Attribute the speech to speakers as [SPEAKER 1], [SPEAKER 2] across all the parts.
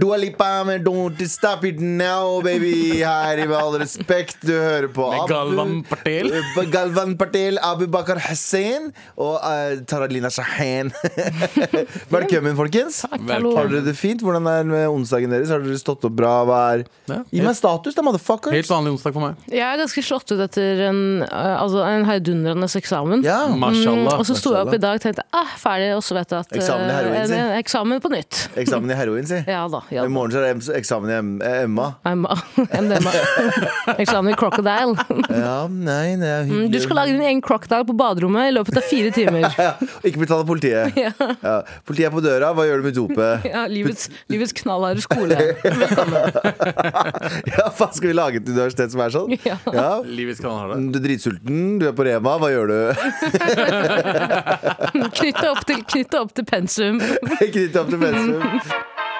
[SPEAKER 1] Dua Lipa med Don't Stop It Now, baby. Her i Med all respekt, du hører på
[SPEAKER 2] Med
[SPEAKER 1] Abu-
[SPEAKER 2] Galvan Patel.
[SPEAKER 1] Galvan Patel, Abu Bakar Hussein og eh, Taralina Shahen. Velkommen, folkens. Har dere det fint? Hvordan er det med onsdagen deres? Har dere stått opp bra? Hva er
[SPEAKER 2] Ja.
[SPEAKER 1] Gi meg status, da,
[SPEAKER 2] Helt
[SPEAKER 1] motherfuckers.
[SPEAKER 2] vanlig onsdag for meg.
[SPEAKER 3] Jeg er ganske slått ut etter en, eh, altså en heidundrende eksamen.
[SPEAKER 1] Ja.
[SPEAKER 3] Mm,
[SPEAKER 2] Mashallah.
[SPEAKER 3] og så sto jeg opp i dag og tenkte ah, ferdig, og så vet jeg at eh,
[SPEAKER 1] Eksamen i heroin, si.
[SPEAKER 3] en- en eksamen på nytt.
[SPEAKER 1] Eksamen i heroin, si.
[SPEAKER 3] Ja da. Ja.
[SPEAKER 1] I morgen så er det em- eksamen i em- eh, Emma.
[SPEAKER 3] I'm, MDMA. eksamen i crocodile.
[SPEAKER 1] Ja, nei, det er
[SPEAKER 3] Mm, Du
[SPEAKER 1] hyggelig.
[SPEAKER 3] skal lage din egen crocodile på baderommet i løpet av fire timer.
[SPEAKER 1] ja, Ikke betale politiet.
[SPEAKER 3] Ja.
[SPEAKER 1] Ja. Politiet er på døra, hva gjør du med dopet?
[SPEAKER 3] Ja, livets, livets knallharde skole.
[SPEAKER 1] Ja, faen, skal vi lage et universitet som er sånn?
[SPEAKER 3] Ja.
[SPEAKER 1] Ja,
[SPEAKER 2] Livets kanal har det.
[SPEAKER 1] Du er dritsulten, du er på Rema, hva gjør du?
[SPEAKER 3] Knytt det opp til, knytt det opp til pensum.
[SPEAKER 1] Knytt opp til pensum.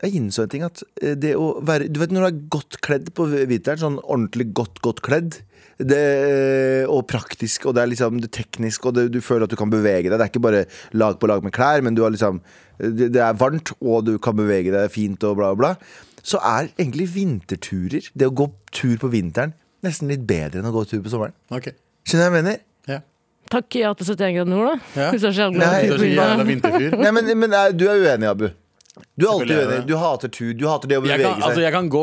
[SPEAKER 1] Jeg innså en ting at eh, det å være Du vet når du er godt kledd på vinteren, sånn ordentlig godt, godt kledd, det, eh, og praktisk, og det er liksom det teknisk, og det, du føler at du kan bevege deg. Det er ikke bare lag på lag med klær, men du har liksom det, det er varmt, og du kan bevege deg fint, og bla, bla. bla. Så er egentlig vinterturer, det å gå tur på vinteren, nesten litt bedre enn å gå tur på sommeren.
[SPEAKER 2] Ok.
[SPEAKER 1] Skjønner du hva jeg mener?
[SPEAKER 2] Ja.
[SPEAKER 3] Takk ja til 71 grader nord, da.
[SPEAKER 2] Ja.
[SPEAKER 3] Hvis du er så jævlig
[SPEAKER 1] Nei,
[SPEAKER 2] Du er så jævla vinterfyr.
[SPEAKER 1] Nei, men, men eh, du er uenig, Abu. Du er alltid
[SPEAKER 2] Selvfølgelig er jeg
[SPEAKER 1] uenig.
[SPEAKER 2] det.
[SPEAKER 1] Du hater tur. Du hater det å
[SPEAKER 2] Jeg
[SPEAKER 1] bevege
[SPEAKER 2] kan, altså,
[SPEAKER 1] seg.
[SPEAKER 2] jeg kan gå,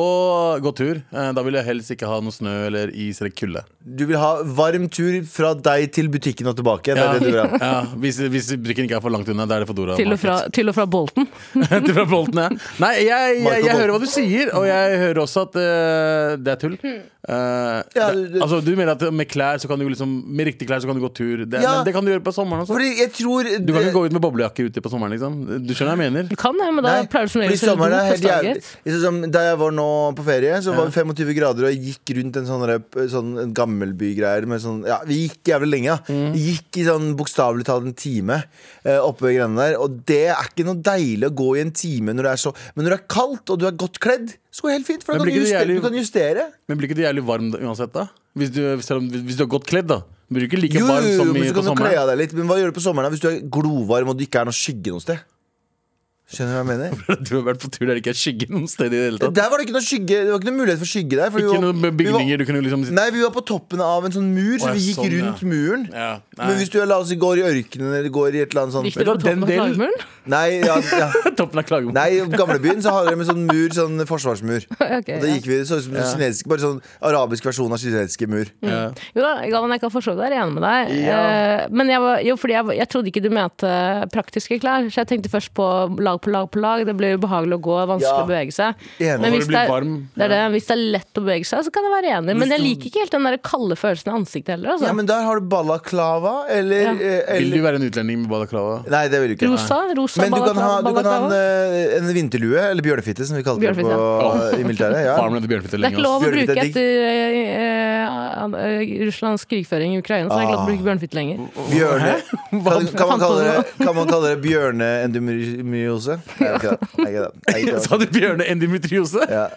[SPEAKER 2] gå tur. Eh, Da vil jeg helst ikke ha noe snø eller is eller kulde.
[SPEAKER 1] Du vil ha varm tur fra deg til butikken og tilbake. Det er det du vil ha.
[SPEAKER 2] Ja, hvis, hvis butikken ikke er for langt unna, da er det Fodora.
[SPEAKER 3] til og, fra,
[SPEAKER 2] Market.
[SPEAKER 3] til og fra Bolten.
[SPEAKER 2] til og fra Bolten, ja. Nei, jeg, jeg,
[SPEAKER 1] Michael
[SPEAKER 2] jeg hører hva
[SPEAKER 1] Bolton.
[SPEAKER 2] du sier, og jeg hører også at eh, det er tull.
[SPEAKER 3] Hmm.
[SPEAKER 2] Eh,
[SPEAKER 1] Ja,
[SPEAKER 2] det,
[SPEAKER 1] det-
[SPEAKER 2] altså, du mener at med klær så kan du liksom Med riktige klær så kan du gå tur. Det,
[SPEAKER 1] Ja.
[SPEAKER 2] men det kan du gjøre på sommeren også.
[SPEAKER 1] Fordi jeg tror
[SPEAKER 2] Du kan ikke gå ut med boblejakke ute på sommeren, liksom. Du skjønner hva jeg mener?
[SPEAKER 3] Du kan det, men da
[SPEAKER 1] Nei,
[SPEAKER 3] pleier du som
[SPEAKER 1] fordi
[SPEAKER 3] regel å
[SPEAKER 1] sommeren er
[SPEAKER 3] kjøre
[SPEAKER 1] helt
[SPEAKER 3] god
[SPEAKER 1] jævlig.
[SPEAKER 3] høstdaget.
[SPEAKER 1] Det er sånn, Da jeg var nå på ferie, så var det 25 grader, og jeg gikk rundt en sånn, der- sånn en gammelbygreier med sånn Ja, vi gikk jævlig lenge, da.
[SPEAKER 3] Mm.
[SPEAKER 1] Gikk i sånn bokstavelig talt en time eh, oppe ved greiene der. Og det er ikke noe deilig å gå i en time når det er så Men når det er kaldt, og du er godt kledd, så går det helt fint, for da
[SPEAKER 2] Men
[SPEAKER 1] kan
[SPEAKER 2] blir
[SPEAKER 1] du
[SPEAKER 2] ikke det
[SPEAKER 1] justere.
[SPEAKER 2] jævlig-
[SPEAKER 1] Du kan justere.
[SPEAKER 2] Men blir ikke du jævlig varm da, uansett, da? Hvis du, selv om, hvis du er godt kledd, da. Blir du ikke like
[SPEAKER 1] Jo, jo,
[SPEAKER 2] varm
[SPEAKER 1] jo,
[SPEAKER 2] som
[SPEAKER 1] men
[SPEAKER 2] i,
[SPEAKER 1] så
[SPEAKER 2] på
[SPEAKER 1] kan du kle
[SPEAKER 2] sommeren?
[SPEAKER 1] av deg litt. Men hva gjør du på sommeren da, hvis du er glovarm og det ikke er noe skygge noe sted? Skjønner du hva jeg mener?
[SPEAKER 2] Du har vært på tur der det ikke er skygge noen sted i det hele tatt.
[SPEAKER 1] Der var det ikke noe skygge, det var ikke noe mulighet for skygge der. For vi
[SPEAKER 2] Ikke
[SPEAKER 1] var-
[SPEAKER 2] noen
[SPEAKER 1] vi var-
[SPEAKER 2] bygninger du kunne liksom sitte
[SPEAKER 1] Nei, vi var på toppen av en sånn mur, så
[SPEAKER 2] Å, ja,
[SPEAKER 1] vi gikk
[SPEAKER 2] sånn,
[SPEAKER 1] rundt muren.
[SPEAKER 2] ja, nei.
[SPEAKER 1] Men hvis du la oss si, går i ørkenen eller går i et eller annet sånn
[SPEAKER 3] Gikk dere
[SPEAKER 2] Vet
[SPEAKER 3] på
[SPEAKER 2] du hva, den
[SPEAKER 3] toppen av
[SPEAKER 2] delen-
[SPEAKER 3] Klagemuren?
[SPEAKER 1] Nei, ja, ja.
[SPEAKER 2] Toppen av klagemuren.
[SPEAKER 1] Nei, i gamlebyen så hadde de en sånn mur, sånn forsvarsmur.
[SPEAKER 3] Ok,
[SPEAKER 1] Og da
[SPEAKER 3] ja.
[SPEAKER 1] gikk vi, det så ut som en kinesisk, bare sånn arabisk versjon av kinesiske mur.
[SPEAKER 3] Jo da, Galvan, jeg kan forstå det, jeg er enig med deg. Eh, Men jeg, var, jo, fordi jeg, var- jeg trodde ikke du mente eh, praktiske klær, så jeg tenkte først på lag på lag på lag. Det blir ubehagelig å gå, vanskelig
[SPEAKER 1] Ja.
[SPEAKER 3] å bevege seg.
[SPEAKER 1] Enig.
[SPEAKER 2] Når
[SPEAKER 3] Men
[SPEAKER 2] du
[SPEAKER 3] hvis
[SPEAKER 2] blir
[SPEAKER 3] det, er,
[SPEAKER 2] varm,
[SPEAKER 3] det er det, hvis det er lett å bevege seg, så kan jeg være enig. Men jeg
[SPEAKER 1] du-
[SPEAKER 3] liker ikke helt den der kalde følelsen i ansiktet heller. Altså.
[SPEAKER 1] Ja, men der har du balaklava, eller,
[SPEAKER 3] Ja.
[SPEAKER 1] eh,
[SPEAKER 2] Vil
[SPEAKER 1] eller
[SPEAKER 2] du være en utlending med balaklava?
[SPEAKER 1] Nei, det vil du ikke.
[SPEAKER 3] rosa, rosa
[SPEAKER 1] Men du kan ha, du kan ha en,
[SPEAKER 3] balaklava.
[SPEAKER 1] eh, en vinterlue, eller bjørnefitte, som vi kalte det på, i militæret. Ja.
[SPEAKER 2] Faren min heter Bjørnfitte
[SPEAKER 3] Det er
[SPEAKER 2] lenge.
[SPEAKER 3] ikke lov å
[SPEAKER 1] Bjørnfitte er
[SPEAKER 3] bruke
[SPEAKER 1] digg.
[SPEAKER 3] etter eh, eh, eh, Russlands krigføring i Ukraina, så jeg er glad for å
[SPEAKER 1] Ah.
[SPEAKER 3] bruke bjørnfitte lenger.
[SPEAKER 1] Bjørne kan, kan, man kalle det, kan man kalle det bjørneendymyose? Nei, det er ikke det. Nei, det er ikke det. Nei, det
[SPEAKER 2] ass.
[SPEAKER 1] er-
[SPEAKER 2] Sa du bjørneendometriose?
[SPEAKER 1] Ja.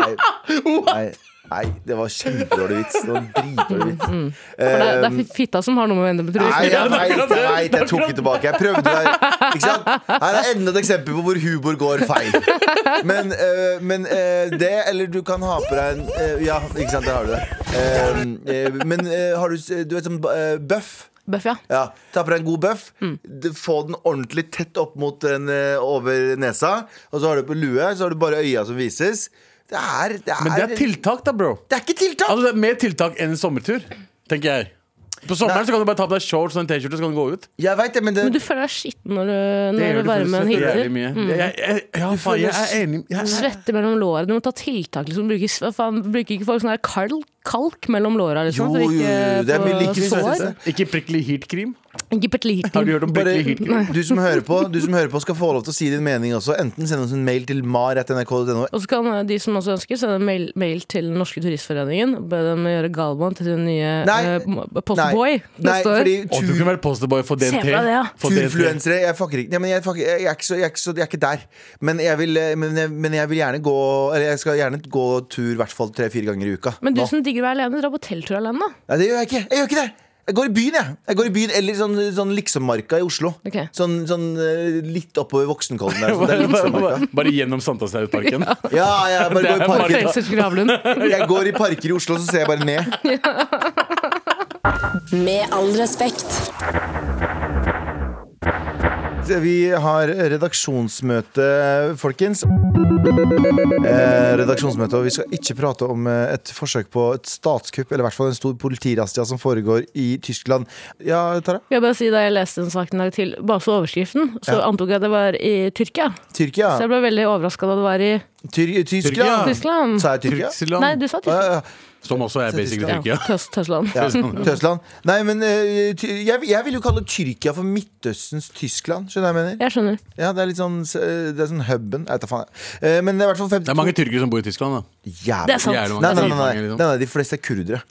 [SPEAKER 1] Nei. Nei. Nei, det var kjempedårlig vits. Det var dritdårlig vits.
[SPEAKER 3] Mm. For det er, det
[SPEAKER 1] Um,
[SPEAKER 3] er fitta som har noe med endometriose
[SPEAKER 1] Nei,
[SPEAKER 3] å
[SPEAKER 1] jeg
[SPEAKER 3] gjøre.
[SPEAKER 1] veit, jeg vet, jeg tok det tilbake. Jeg prøvde der. Ikke sant? Her er enda et eksempel på hvor humor går feil. Men, øh, men øh, det, eller du kan ha på deg en øh, Ja, ikke sant, der har du det. Um, øh, men øh, har du s- Du vet sånn øh, bøff?
[SPEAKER 3] Bøff, ja.
[SPEAKER 1] Ja, Ta på deg en god bøff, d- få den ordentlig tett opp mot den eh, over nesa. Og så har du på lue, så har du bare øya som vises. Det er Det er,
[SPEAKER 2] Men det er tiltak, da, bro.
[SPEAKER 1] det er ikke tiltak!
[SPEAKER 2] Altså, det er Mer tiltak enn en sommertur, tenker jeg. På sommeren
[SPEAKER 1] Nei.
[SPEAKER 2] så kan du bare ta på deg shorts og en T-skjorte så kan du gå ut.
[SPEAKER 1] jeg veit det, men det
[SPEAKER 3] Men du føler deg skitten når, du-
[SPEAKER 2] Det
[SPEAKER 3] når
[SPEAKER 2] gjør du
[SPEAKER 3] varmen
[SPEAKER 2] faktisk jævlig
[SPEAKER 3] hitter.
[SPEAKER 2] mye. Jeg, jeg, jeg, ja, faen, jeg er enig. Jeg er
[SPEAKER 3] Svette mellom låra. Du må ta tiltak. Liksom. Bruker, s- hva faen, bruker ikke folk sånn her kalk, kalk mellom låra?
[SPEAKER 1] Jo,
[SPEAKER 3] Liksom, for
[SPEAKER 1] jo,
[SPEAKER 3] ikke
[SPEAKER 1] jo, det er
[SPEAKER 3] få
[SPEAKER 1] mye like
[SPEAKER 3] sår?
[SPEAKER 2] Altså,
[SPEAKER 1] sår.
[SPEAKER 2] Ikke prickly heat cream. Har du hørt om
[SPEAKER 1] Bare,
[SPEAKER 2] Berkeley Hilton?
[SPEAKER 1] du, som hører på, du som hører på skal få lov til å si din mening også. Enten send oss en mail til mar.nrk.no.
[SPEAKER 3] Og så kan eh, de som også ønsker, sende mail, mail til Den norske turistforeningen og be dem gjøre Galvan til sin nye
[SPEAKER 1] Nei.
[SPEAKER 3] eh, postboy
[SPEAKER 1] Nei,
[SPEAKER 3] neste år.
[SPEAKER 1] fordi
[SPEAKER 2] Å, du kunne vært posterboy for DNT.
[SPEAKER 3] Se for deg det, ja.
[SPEAKER 2] For DNT.
[SPEAKER 1] Turfluensere, jeg fucker ikke Nei, men jeg, fucker, jeg, er ikke så, jeg, er ikke så, jeg er ikke der men jeg, vil, eh, men, jeg, men jeg vil gjerne gå Eller jeg skal gjerne gå tur hvertfall tre-fire ganger i uka
[SPEAKER 3] Men du
[SPEAKER 1] Nå.
[SPEAKER 3] som digger å være alene, dra på telttur alene, da.
[SPEAKER 1] Nei, det gjør jeg ikke, jeg gjør ikke det jeg går i byen, jeg. Jeg går i byen, eller sånn, sånn liksommarka i Oslo.
[SPEAKER 3] Ok.
[SPEAKER 1] Sånn, sånn eh, litt oppover voksenkollen der. Sånn, det er
[SPEAKER 2] Bare,
[SPEAKER 1] liksommarka.
[SPEAKER 2] bare, bare gjennom Sankthanshaugsparken.
[SPEAKER 1] Ja, jeg bare går i parker.
[SPEAKER 3] Frelsers gravlund.
[SPEAKER 1] Jeg går i parker i Oslo, så ser jeg bare ned.
[SPEAKER 4] Med all respekt.
[SPEAKER 1] Vi har redaksjonsmøte, folkens. Eh, redaksjonsmøte, og Vi skal ikke prate om eh, et forsøk på et statskupp, eller i hvert fall en stor politirastia som foregår i Tyskland. Ja, Tara?
[SPEAKER 3] Jeg vil bare si Da jeg leste den saken i dag til bare så overskriften, så
[SPEAKER 1] Ja.
[SPEAKER 3] antok jeg det var i Tyrkia.
[SPEAKER 1] Tyrkia?
[SPEAKER 3] Så jeg ble veldig overraska da det var i
[SPEAKER 1] Tyr
[SPEAKER 2] Tyrkia.
[SPEAKER 1] Tyskland?
[SPEAKER 3] Tyskland.
[SPEAKER 1] Sa jeg Tyrkia?
[SPEAKER 2] Tyrksland.
[SPEAKER 3] Nei, du sa
[SPEAKER 1] Ja,
[SPEAKER 3] Tyskland.
[SPEAKER 1] ja,
[SPEAKER 2] Som også er basically
[SPEAKER 1] Tyskland.
[SPEAKER 2] Tyrkia.
[SPEAKER 3] Ja, Tøs- Tøsland.
[SPEAKER 1] ja. Tøsland. Nei, men eh, Ty- jeg, jeg vil jo kalle Tyrkia for Midtøstens Tyskland. Skjønner du hva jeg mener?
[SPEAKER 3] Jeg skjønner.
[SPEAKER 1] Ja, Det er litt sånn eh, Det er sånn huben. Jeg vet da faen. jeg. Eh, Men det er i hvert fall 52
[SPEAKER 2] Det er mange tyrkere som bor i Tyskland. da
[SPEAKER 1] Jævlig.
[SPEAKER 3] Det er sant.
[SPEAKER 2] Jævlig
[SPEAKER 1] Nei, nei, nei,
[SPEAKER 2] mange tyrkere,
[SPEAKER 1] nei, nei,
[SPEAKER 2] liksom.
[SPEAKER 1] nei, de fleste er kurdere.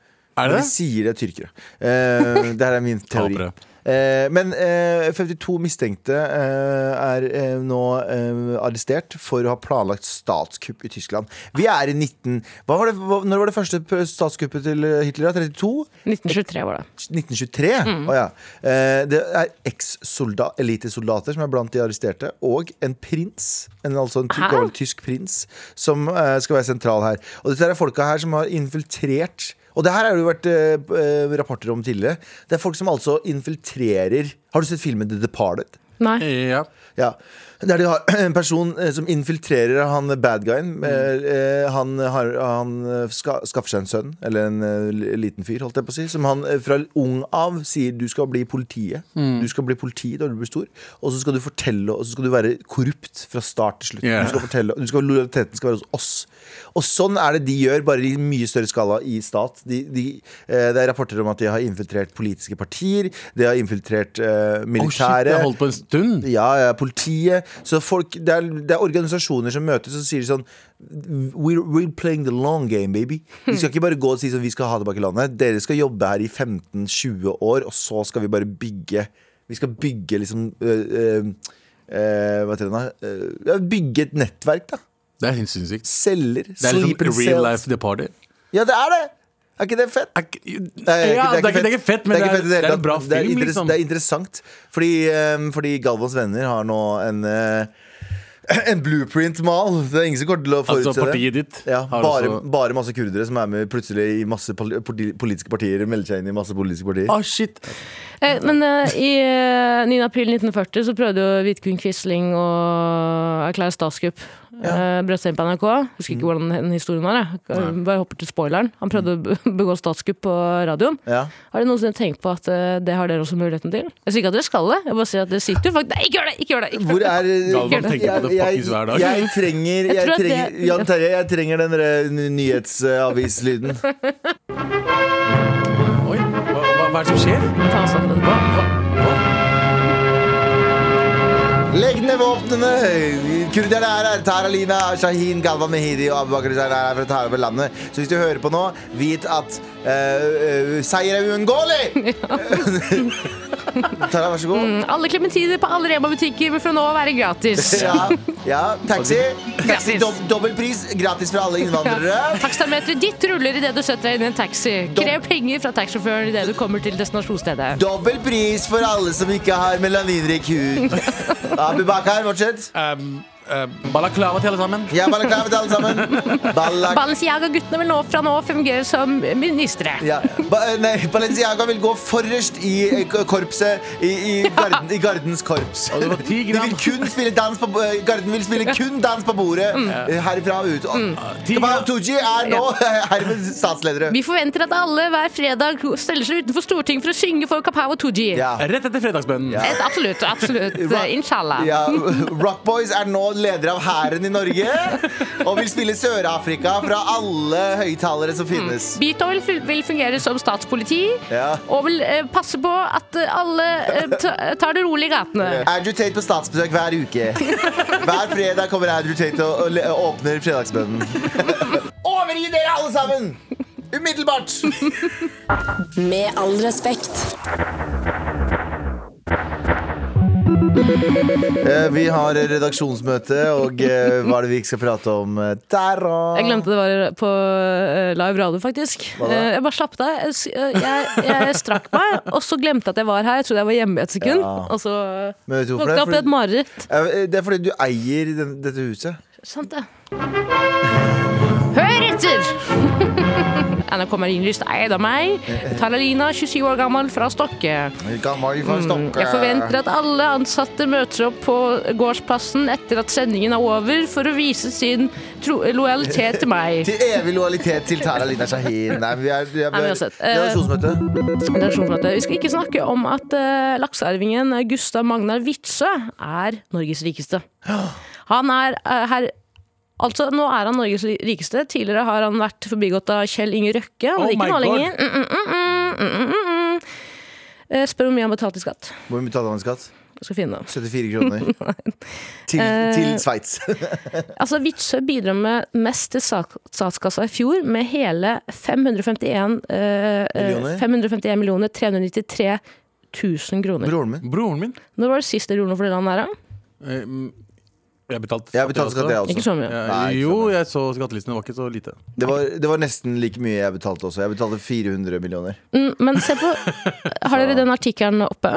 [SPEAKER 2] Er det
[SPEAKER 1] De sier det er tyrkere. Eh, det her er min teori.
[SPEAKER 2] Tapere.
[SPEAKER 1] Eh, men eh, 52 mistenkte eh, er eh, nå eh, arrestert for å ha planlagt statskupp i Tyskland. Vi er i 19... Hva var det, hva, når var det første p- statskuppet til eh, Hitler? da? 32?
[SPEAKER 3] 1923 var det.
[SPEAKER 1] 1923? Å ja. Eh, det er eks-elitesoldater som er blant de arresterte, og en prins. En, altså en ty
[SPEAKER 3] Hæ?
[SPEAKER 1] gammel tysk prins som eh, skal være sentral her. Og dette er folka her som har infiltrert Og det her har det jo vært eh, b- eh, rapporter om tidligere. Det er folk som altså infiltrerer Har du sett filmen The Departed?
[SPEAKER 3] Nei.
[SPEAKER 2] Ja.
[SPEAKER 1] Ja, Der de har en person eh, som infiltrerer han bad guyen.
[SPEAKER 2] Mm.
[SPEAKER 1] Eh, eh, Han, har, han eh, ska, skaffer seg en sønn, eller en eh, li- liten fyr, holdt jeg på å si, som han eh, fra ung av sier du skal bli politiet.
[SPEAKER 2] Mm.
[SPEAKER 1] Du skal bli politi da du blir stor, og så skal du fortelle, og så skal du være korrupt fra start til slutt.
[SPEAKER 2] Yeah.
[SPEAKER 1] Du skal fortelle, du skal, lojaliteten skal være hos oss. Og sånn er det de gjør, bare i mye større skala i stat. De, de, eh, det er rapporter om at de har infiltrert politiske partier, de har infiltrert eh,
[SPEAKER 2] Oh, shit,
[SPEAKER 1] militære
[SPEAKER 2] det har holdt på en stund.
[SPEAKER 1] ja, ja, politiet så folk, det, er, det er organisasjoner som møtes og sier sånn we're, we're playing the long game, baby Vi skal ikke bare gå og si sånn, vi skal ha tilbake landet Dere skal jobbe her i 15-20 år Og så skal vi bare bygge Vi skal bygge liksom øh, øh, øh, Hva heter det da? Øh, ja, bygge et nettverk da
[SPEAKER 2] Det er helt sinnssykt.
[SPEAKER 1] Selger,
[SPEAKER 2] Det er
[SPEAKER 1] sleep
[SPEAKER 2] liksom
[SPEAKER 1] and
[SPEAKER 2] real
[SPEAKER 1] sales
[SPEAKER 2] life the party.
[SPEAKER 1] Ja, det er det! Er ikke det fett?
[SPEAKER 2] Er ikke- Ja,
[SPEAKER 1] Nei, det er ikke-
[SPEAKER 2] det er ikke- det er ikke fett, men det
[SPEAKER 1] ikke
[SPEAKER 2] er
[SPEAKER 1] fett i hele
[SPEAKER 2] det er en
[SPEAKER 1] tatt.
[SPEAKER 2] bra
[SPEAKER 1] det er
[SPEAKER 2] film,
[SPEAKER 1] interes-
[SPEAKER 2] liksom.
[SPEAKER 1] Det er interessant, fordi, ehm, fordi Galvans venner har nå en eh, en blueprint-mal. Det er ingen som kommer til å forutse
[SPEAKER 2] Altså,
[SPEAKER 1] det.
[SPEAKER 2] partiet ditt
[SPEAKER 1] Ja,
[SPEAKER 2] har
[SPEAKER 1] bare,
[SPEAKER 2] også-
[SPEAKER 1] bare masse kurdere som er med plutselig i masse poli- politi- politiske partier. Melder seg inn i masse politiske partier.
[SPEAKER 2] Ah, shit.
[SPEAKER 3] Eh, Men eh, i eh, 9. april 1940 så prøvde jo Vidkun Quisling å erklære statskupp. Ja. Brøt seg inn på NRK. Husker ikke hvordan den historien var. Jeg. Jeg Bare hopper til spoileren. Han prøvde å be- begå statskupp på radioen.
[SPEAKER 1] Ja.
[SPEAKER 3] Har dere noensinne tenkt på at eh, det har dere også muligheten til? Jeg sier ikke at dere skal det. Jeg bare sier at dere sitter jo faktisk Nei, ikke gjør det! Ikke gjør det!
[SPEAKER 1] Hvor
[SPEAKER 3] Ikke gjør det.
[SPEAKER 1] er
[SPEAKER 2] Galvan tenker på det
[SPEAKER 1] jeg,
[SPEAKER 2] fuckings hver dag.
[SPEAKER 1] jeg trenger, jeg
[SPEAKER 3] tror at det-
[SPEAKER 1] trenger Jan Terje, jeg trenger den der ny- nyhetsavislyden.
[SPEAKER 2] Oi, hva, hva, hva er det som skjer?
[SPEAKER 3] Ta oss sammen.
[SPEAKER 2] Hva, hva, hva?
[SPEAKER 1] Legg ned våpnene! Kurderne er her! Taralina, Shahin, Galvan Mehidi og Abubakar Hussein er her for å ta over landet. Så hvis du hører på nå, vit at eh, eh, seier er uunngåelig! Tara, vær så god.
[SPEAKER 3] Alle klementiner på alle Rema-butikker vil fra nå av være gratis.
[SPEAKER 1] Ja, ja taxi. taxi
[SPEAKER 3] Gratis.
[SPEAKER 1] dob dobbel pris, gratis for alle innvandrere.
[SPEAKER 3] Takstameteret ditt ruller idet du setter deg inn i en taxi. Krev penger fra taxisjåføren idet du kommer til destinasjonsstedet.
[SPEAKER 1] Dobbel pris for alle som ikke har melaninrik hud. Abubakar, fortsett.
[SPEAKER 2] Um, um, balaklava til alle sammen.
[SPEAKER 1] Jeg er bare klar med alle sammen. Ballak
[SPEAKER 3] Balenciaga-guttene vil nå fra nå fungere som ministre.
[SPEAKER 1] Ja. Ba nei, Balenciaga vil gå forrest i eh, k- korpset I, i, garden, i Gardens korps.
[SPEAKER 2] Og det var ti
[SPEAKER 1] De
[SPEAKER 2] gram.
[SPEAKER 1] vil kun spille dans på bo- eh, Garden vil spille kun dans på bordet eh, herfra og ut. Og-
[SPEAKER 2] Mm. Ti
[SPEAKER 1] Kamal
[SPEAKER 2] gram.
[SPEAKER 1] Tooji er nå herved statsledere.
[SPEAKER 3] Vi forventer at alle hver fredag steller seg utenfor Stortinget for å synge for Kapow og Tooji.
[SPEAKER 1] Ja.
[SPEAKER 2] Rett etter fredagsbønnen.
[SPEAKER 3] Et Absolutt. absolutt. Inshallah.
[SPEAKER 1] Ja, Rockboys er nå leder av hæren i Norge. Og vil spille Sør-Afrika fra alle høyttalere som finnes.
[SPEAKER 3] Beatoil fun- vil fungere som statspoliti
[SPEAKER 1] Ja.
[SPEAKER 3] og vil eh, passe på at eh, alle eh, ta- tar det rolig i gatene.
[SPEAKER 1] Andrew Tate på statsbesøk hver uke. Hver fredag kommer Andrew Tate og, og, le- og åpner fredagsbønnen. Overgi dere, alle sammen! Umiddelbart!
[SPEAKER 4] Med all respekt.
[SPEAKER 1] Eh, vi har redaksjonsmøte, og eh, hva er det vi ikke skal prate om eh, der? og-
[SPEAKER 3] Jeg glemte det var på eh, live radio, faktisk.
[SPEAKER 1] da?
[SPEAKER 3] Eh, Jeg bare slappet av. Jeg, s- eh, jeg, jeg strakk meg, og så glemte jeg at jeg var her. Jeg trodde jeg var hjemme i et sekund.
[SPEAKER 1] Ja.
[SPEAKER 3] Og så
[SPEAKER 1] Men vet du hvorfor det?
[SPEAKER 3] våkna jeg opp i et mareritt.
[SPEAKER 1] Eh, Det er fordi du eier den, dette huset.
[SPEAKER 3] Sant det. Hør etter! NRK Marienlyst er eid av meg. Taralina, 27 år gammel, fra Stokke. Hmm,
[SPEAKER 1] Gammel fra Stokke.
[SPEAKER 3] Mm, Jeg forventer at alle ansatte møter opp på gårdsplassen etter at sendingen er over, for å vise sin tro lojalitet til meg.
[SPEAKER 1] Til evig lojalitet til Tara Lina Shahin. Nei, men vi er, vi er,
[SPEAKER 3] Nei, men uansett, eh,
[SPEAKER 1] redaksjonsmøte.
[SPEAKER 3] Redaksjonsmøte. eh, Vi skal ikke snakke om at uh, laksearvingen Gustav Magnar Witzøe er Norges rikeste. Han er eh, herr Altså, Nå er han Norges ri- rikeste. Tidligere har han vært forbigått av Kjell Inge Røkke. Men
[SPEAKER 2] Oh
[SPEAKER 3] ikke
[SPEAKER 2] my
[SPEAKER 3] nå
[SPEAKER 2] God.
[SPEAKER 3] lenger. Mm, mm, mm, mm, mm, mm, mm, mm. Eh, spør hvor mye han betalte i skatt.
[SPEAKER 1] Hvor mye betaler han i skatt?
[SPEAKER 3] Jeg skal finne det.
[SPEAKER 1] 74 kroner. til til
[SPEAKER 3] Eh,
[SPEAKER 1] Sveits.
[SPEAKER 3] Altså, Witzøe bidro med mest til sak- statskassa i fjor, med hele 551, eh, eh,
[SPEAKER 1] Millioner?
[SPEAKER 3] 551 millioner 393 000 kroner.
[SPEAKER 1] Broren min.
[SPEAKER 2] Broren min
[SPEAKER 3] Når var det sist dere gjorde noe for det landet her, da?
[SPEAKER 2] eh, mm, Jeg betalte
[SPEAKER 1] Ehm, Jeg betalte skatt, jeg
[SPEAKER 3] Ikke
[SPEAKER 1] også.
[SPEAKER 3] så mye.
[SPEAKER 2] Ja,
[SPEAKER 1] Nei, ikke
[SPEAKER 2] jo,
[SPEAKER 1] sånn.
[SPEAKER 2] jeg så skattelistene. Det var ikke så lite.
[SPEAKER 1] Det var, det var nesten like mye jeg betalte også. Jeg betalte 400 millioner.
[SPEAKER 3] Mm, Men se på Har dere den artikkelen oppe?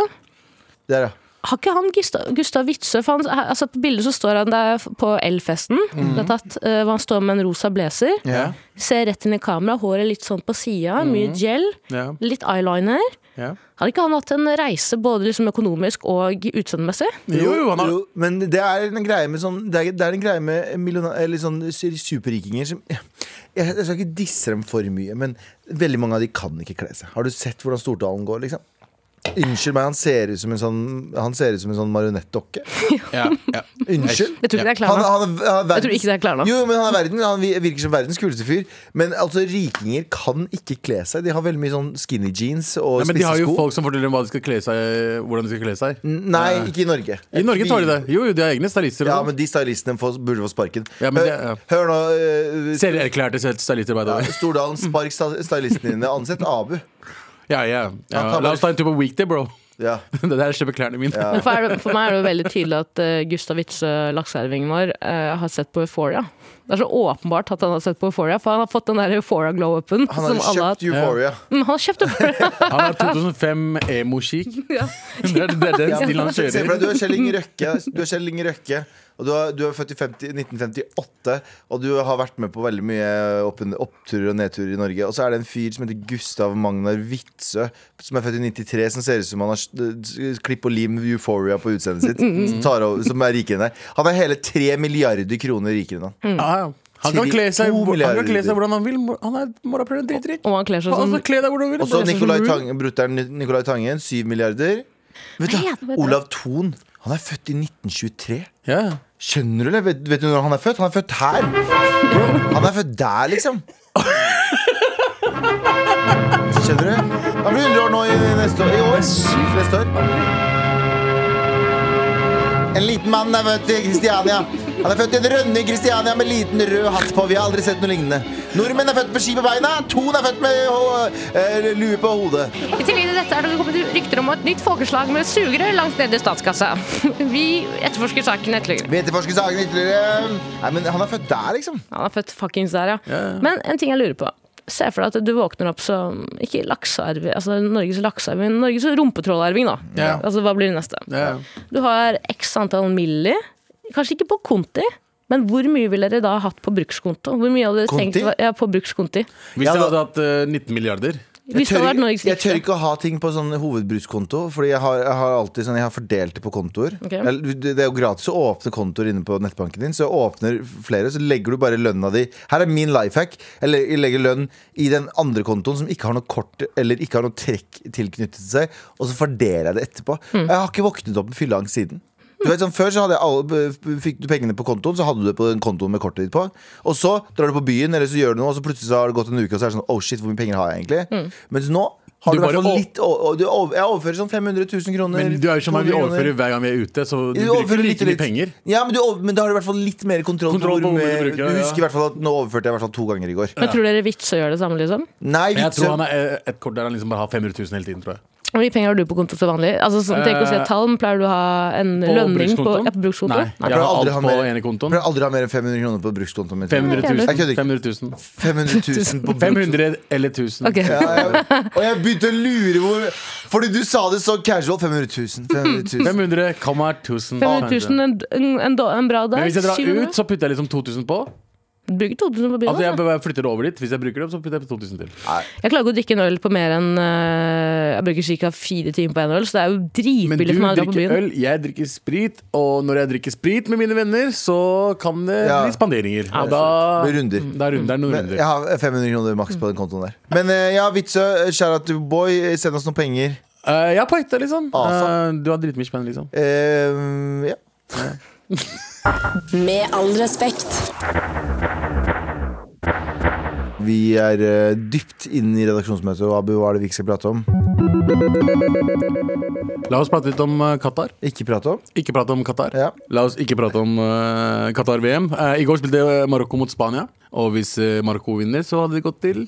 [SPEAKER 1] Der, ja.
[SPEAKER 3] Har ikke han Gustav, Gustav Witzøe for han- altså På bildet så står han der på Elfesten.
[SPEAKER 1] Mm.
[SPEAKER 3] Det er tatt, eh, hvor han står med en rosa blazer.
[SPEAKER 1] Ja.
[SPEAKER 3] Ser rett inn i kamera, håret litt sånn på sida,
[SPEAKER 1] Mm.
[SPEAKER 3] mye gel,
[SPEAKER 2] Ja,
[SPEAKER 3] litt eyeliner.
[SPEAKER 2] ja.
[SPEAKER 3] Har ikke han hatt en reise både liksom økonomisk og utseendemessig?
[SPEAKER 2] Jo, jo, han har
[SPEAKER 1] Jo, men det er en greie med sånn Det er, det er en greie med millionar, eller sånn su- superrikinger som jeg, jeg skal ikke disse dem for mye, men veldig mange av de kan ikke kle seg. Har du sett hvordan Stordalen går, liksom? Unnskyld meg, han ser ut som en sånn Han ser ut som en sånn marionettdokke.
[SPEAKER 2] ja, ja.
[SPEAKER 1] Unnskyld.
[SPEAKER 3] Jeg tror ikke det er
[SPEAKER 1] Han, han
[SPEAKER 3] klærne.
[SPEAKER 1] er, han er
[SPEAKER 3] Jeg tror ikke det er klærne.
[SPEAKER 1] Jo, men han er verden, han vi- virker som verdens kuleste fyr. Men altså, rikinger kan ikke kle seg. De har veldig mye sånn skinny jeans og
[SPEAKER 2] Nei, men De har
[SPEAKER 1] spisse
[SPEAKER 2] jo
[SPEAKER 1] sko.
[SPEAKER 2] folk som forteller dem hva de skal kle seg, hvordan de skal kle seg.
[SPEAKER 1] Mm. Nei, ikke i Norge.
[SPEAKER 2] I Norge tar de det. Jo, jo, de har egne stylister.
[SPEAKER 1] Ja,
[SPEAKER 2] og sånn.
[SPEAKER 1] men de stylistene får, burde få sparken.
[SPEAKER 2] Ja, men det-
[SPEAKER 1] hør,
[SPEAKER 2] ja.
[SPEAKER 1] hør nå eh,
[SPEAKER 2] Selverklærte stylister, by the way.
[SPEAKER 1] Stordalen, spark sta- stylisten dine. Ansett Abu.
[SPEAKER 2] Ja, ja. ja.
[SPEAKER 1] Han tar
[SPEAKER 2] La oss ta en tur på weekday, bro.
[SPEAKER 1] Ja.
[SPEAKER 2] Det der kjøper klærne mine.
[SPEAKER 3] Men for, er det, for meg er det jo veldig tydelig at eh, Gustav Witzøe, lakseervingen vår, eh, har sett på Euphoria. Det er så åpenbart at han har sett på Euphoria, for han har fått den der Euphoria-glow-upen.
[SPEAKER 1] Han har
[SPEAKER 3] som
[SPEAKER 1] jo
[SPEAKER 3] alle har
[SPEAKER 1] kjøpt Euphoria.
[SPEAKER 3] Mm, Han har kjøpt Euphoria.
[SPEAKER 2] Han har 2005 emo-chic.
[SPEAKER 3] Ja.
[SPEAKER 2] Det er, det er den stilen han
[SPEAKER 1] Se for deg,
[SPEAKER 2] kjører.
[SPEAKER 1] du er Kjell Inge Røkke, du er, Kjell Inge Røkke og du er, du er født i 50, 1958, og du har vært med på veldig mye opp, oppturer og nedturer i Norge. Og så er det en fyr som heter Gustav Magnar Witzøe, som er født i 93, som ser ut som han har s- s- klipp og lim Euphoria på utseendet sitt. Som, tar over, som er rikere enn deg. Han er hele 3 milliarder kroner rikere enn han.
[SPEAKER 3] Mm.
[SPEAKER 2] Ja, ja. Han kan,
[SPEAKER 1] Til
[SPEAKER 2] kle seg,
[SPEAKER 1] to
[SPEAKER 2] hvor- han kan
[SPEAKER 1] milliarder.
[SPEAKER 2] kle seg hvordan han vil. Han er morapuler, driter
[SPEAKER 3] Og han kler seg som
[SPEAKER 2] Altså, kle deg hvordan du vil.
[SPEAKER 1] Og så
[SPEAKER 2] Bare-
[SPEAKER 1] Nicolai Tangen, brutteren Nicolai Tangen, 7 milliarder. Vet
[SPEAKER 3] Nei,
[SPEAKER 1] du,
[SPEAKER 3] jeg vet
[SPEAKER 1] Olav Thon, han er født i 1923.
[SPEAKER 2] Ja.
[SPEAKER 1] Skjønner du det? Vet, vet du når han er født? Han er født her. Han er født der, liksom. Skjønner du? Han blir 100 år nå i, i neste år. I år. Neste år. En liten mann er født i Kristiania. Han er født i en rønne i Kristiania med liten rød hatt på. Vi har aldri sett noe lignende. Nordmenn er født med ski på beina. Thon er født med ho- eh, lue på hodet.
[SPEAKER 3] I tillegg til dette er det kommet rykter om et nytt folkeslag med sugere langt nede i statskassa. Vi etterforsker saken ytterligere.
[SPEAKER 1] Vi etterforsker saken ytterligere. Nei, men han er født der, liksom.
[SPEAKER 3] Han er født fuckings der, ja.
[SPEAKER 2] Ja, ja.
[SPEAKER 3] Men en ting jeg lurer på. Se for deg at du våkner opp som ikke laksearving, altså Norges laksearving, men Norges rumpetrollarving, da.
[SPEAKER 2] Ja.
[SPEAKER 3] Altså, hva blir det neste?
[SPEAKER 2] Ja.
[SPEAKER 3] Du har x antall milli. Kanskje ikke på konti, men hvor mye ville dere da hatt på brukskonto? Hvor mye hadde dere
[SPEAKER 1] Konti?
[SPEAKER 3] tenkt var- ja, på brukskonti?
[SPEAKER 2] Hvis
[SPEAKER 1] Ja,
[SPEAKER 2] jeg
[SPEAKER 1] da-
[SPEAKER 2] hadde hatt eh, 19 milliarder
[SPEAKER 3] Hvis det
[SPEAKER 1] tør
[SPEAKER 3] hadde vært
[SPEAKER 1] ikke-
[SPEAKER 3] Norges
[SPEAKER 1] jeg tør
[SPEAKER 3] rikeste.
[SPEAKER 1] ikke å ha ting på sånn hovedbrukskonto, Fordi jeg har, jeg har alltid sånn, jeg har fordelt det på kontoer.
[SPEAKER 3] Ok.
[SPEAKER 1] Eller, Det det er jo gratis å åpne kontoer inne på nettbanken din, så jeg åpner flere, så legger du bare lønna di Her er min life hack. Jeg le- jeg legger lønn i den andre kontoen som ikke har noe kort eller ikke har noe trekk tilknyttet seg, og så fordeler jeg det etterpå. Jeg har ikke våknet opp med fylleangst siden. Du vet, sånn, før så hadde jeg alle, fikk du pengene på kontoen, så hadde du det på den kontoen med kortet ditt på. Og så drar du på byen, eller så gjør du noe, og så plutselig så har det gått en uke, og så er det sånn oh shit, hvor mye penger har jeg egentlig? Mens nå har
[SPEAKER 2] Du
[SPEAKER 1] du i hvert
[SPEAKER 2] bare
[SPEAKER 1] fall
[SPEAKER 2] å-
[SPEAKER 1] litt å- å- du over, Jeg overfører sånn 500 000 kroner.
[SPEAKER 2] Men du er jo som meg, vi
[SPEAKER 1] 200 kroner.
[SPEAKER 2] overfører hver gang vi er ute, så du,
[SPEAKER 1] Du
[SPEAKER 2] bruker
[SPEAKER 1] overfører
[SPEAKER 2] litt mye penger.
[SPEAKER 1] Ja, men, du, over- men da har du i hvert fall litt mer kontroll,
[SPEAKER 2] Kontroll på hvor mye du bruker,
[SPEAKER 1] du
[SPEAKER 2] ja.
[SPEAKER 1] husker i hvert fall at nå overførte jeg i hvert fall to ganger i går.
[SPEAKER 3] Men tror dere Vitse gjør det samme, liksom?
[SPEAKER 1] Nei,
[SPEAKER 2] Men jeg
[SPEAKER 1] vitsen-
[SPEAKER 2] tror han er eh, et kort der han liksom bare har 500 000 hele tiden, tror jeg.
[SPEAKER 3] Hvor mye penger har du på konto til vanlig? Altså, sånn, tenk å si
[SPEAKER 2] Eh,
[SPEAKER 3] et tall, men pleier du å ha en lønning på,
[SPEAKER 2] brukskontoen?
[SPEAKER 3] ja, på brukskonto?
[SPEAKER 2] Nei, jeg
[SPEAKER 1] Pleier
[SPEAKER 2] har
[SPEAKER 1] aldri
[SPEAKER 2] alt
[SPEAKER 1] ha
[SPEAKER 2] på
[SPEAKER 1] mer-
[SPEAKER 2] ene kontoen.
[SPEAKER 1] Pleier aldri å ha mer enn 500 kroner på brukskontoen min. Jeg
[SPEAKER 2] 500
[SPEAKER 1] kødder
[SPEAKER 2] 000.
[SPEAKER 1] ikke.
[SPEAKER 2] 500 000.
[SPEAKER 1] 500 000 på
[SPEAKER 2] 500 eller 1000.
[SPEAKER 3] Ok.
[SPEAKER 1] Ja, jeg, og jeg begynte å lure hvor Fordi du sa det så casual. 500 000. 500 000.
[SPEAKER 2] 500 kommer 1000.
[SPEAKER 3] 500 000 en, en, en, da- en bra
[SPEAKER 2] Men
[SPEAKER 3] dag?
[SPEAKER 2] hvis jeg drar
[SPEAKER 3] 700?
[SPEAKER 2] ut, så putter jeg liksom 2000 på.
[SPEAKER 3] Bruker 2000 på byen?
[SPEAKER 2] Altså
[SPEAKER 3] da.
[SPEAKER 2] jeg bare flytter det over dit. Hvis jeg bruker det, så putter jeg 2000 til.
[SPEAKER 3] Jeg klarer ikke å drikke en øl på mer enn eh, Jeg bruker ca. fire timer på en øl, så det er jo
[SPEAKER 2] Men du
[SPEAKER 3] dritbillig for meg å dra på
[SPEAKER 2] drikker
[SPEAKER 3] byen.
[SPEAKER 2] øl, jeg drikker sprit. Og når jeg drikker sprit med mine venner, så kan det
[SPEAKER 1] Ja.
[SPEAKER 2] bli spanderinger. Og da,
[SPEAKER 1] Med runder.
[SPEAKER 2] da er runder noen
[SPEAKER 1] Men
[SPEAKER 2] runder.
[SPEAKER 1] jeg har 500 kroner maks på den kontoen der. Men eh, ja, Witzøe, kjære at du boy, eh, send oss noen penger.
[SPEAKER 2] Eh, jeg er på hytta, liksom.
[SPEAKER 1] Ah, Asa.
[SPEAKER 2] Eh, du har dritmye spenn, liksom.
[SPEAKER 1] Eh, ja.
[SPEAKER 4] Med all respekt.
[SPEAKER 1] Vi er eh, dypt inne i redaksjonsmøtet, og Abu, hva er det vi ikke skal prate om?
[SPEAKER 2] La oss prate litt om eh, Qatar.
[SPEAKER 1] Ikke prate om?
[SPEAKER 2] Ikke prate om Qatar.
[SPEAKER 1] Ja.
[SPEAKER 2] La oss ikke prate om eh, Qatar-VM. Eh, I går spilte eh, Marokko mot Spania. Og hvis eh, Marokko vinner, så hadde de gått til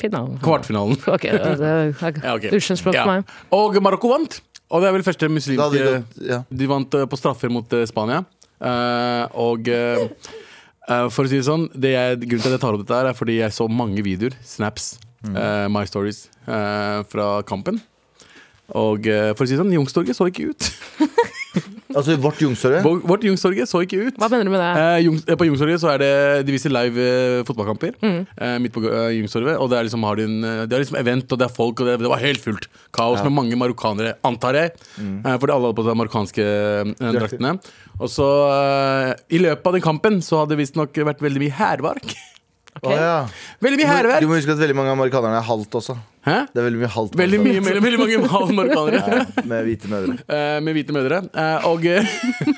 [SPEAKER 3] Finalen.
[SPEAKER 2] kvartfinalen.
[SPEAKER 3] Ok, det er
[SPEAKER 2] Ja, ok.
[SPEAKER 3] Unnskyld språk
[SPEAKER 2] Ja.
[SPEAKER 3] for meg.
[SPEAKER 2] Og Marokko vant. Og det er vel første
[SPEAKER 1] Da hadde
[SPEAKER 2] muslimske
[SPEAKER 1] vi gått ja.
[SPEAKER 2] De vant eh, på straffer mot eh, Spania. Eh, og eh, eh, for å si det sånn, det jeg, grunnen til at jeg tar opp dette, her er fordi jeg så mange videoer, snaps, eh, my stories, eh, fra kampen. Og eh, for å si det sånn, Youngstorget så ikke ut.
[SPEAKER 1] Altså vårt Youngstorget.
[SPEAKER 2] Vår- Vårt Youngstorget så ikke ut.
[SPEAKER 3] Hva mener du med det?
[SPEAKER 2] Eh, Jungs- eh, på Youngstorget så er det De viser live eh, fotballkamper eh, midt på eh, Youngstorget. Og det er liksom, har de, en, eh, de har liksom event, og det er folk, og det, det var helt fullt. Kaos med mange marokkanere, antar jeg.
[SPEAKER 1] Mm.
[SPEAKER 2] Eh, fordi alle hadde på seg marokkanske eh, draktene. Og så, eh, i løpet av den kampen, så hadde det visstnok vært veldig mye hærverk.
[SPEAKER 1] Å, ja.
[SPEAKER 2] Veldig
[SPEAKER 1] Du
[SPEAKER 2] mye hærverk!
[SPEAKER 1] må huske at veldig mange av amerikanerne er halvt også.
[SPEAKER 2] Hæ?
[SPEAKER 1] Det er veldig mye halvt.
[SPEAKER 2] Veldig mye
[SPEAKER 1] også.
[SPEAKER 2] mellom veldig mange marokkanere.
[SPEAKER 1] Ja, med hvite mødre.
[SPEAKER 2] Eh, med hvite mødre. Eh, og, eh,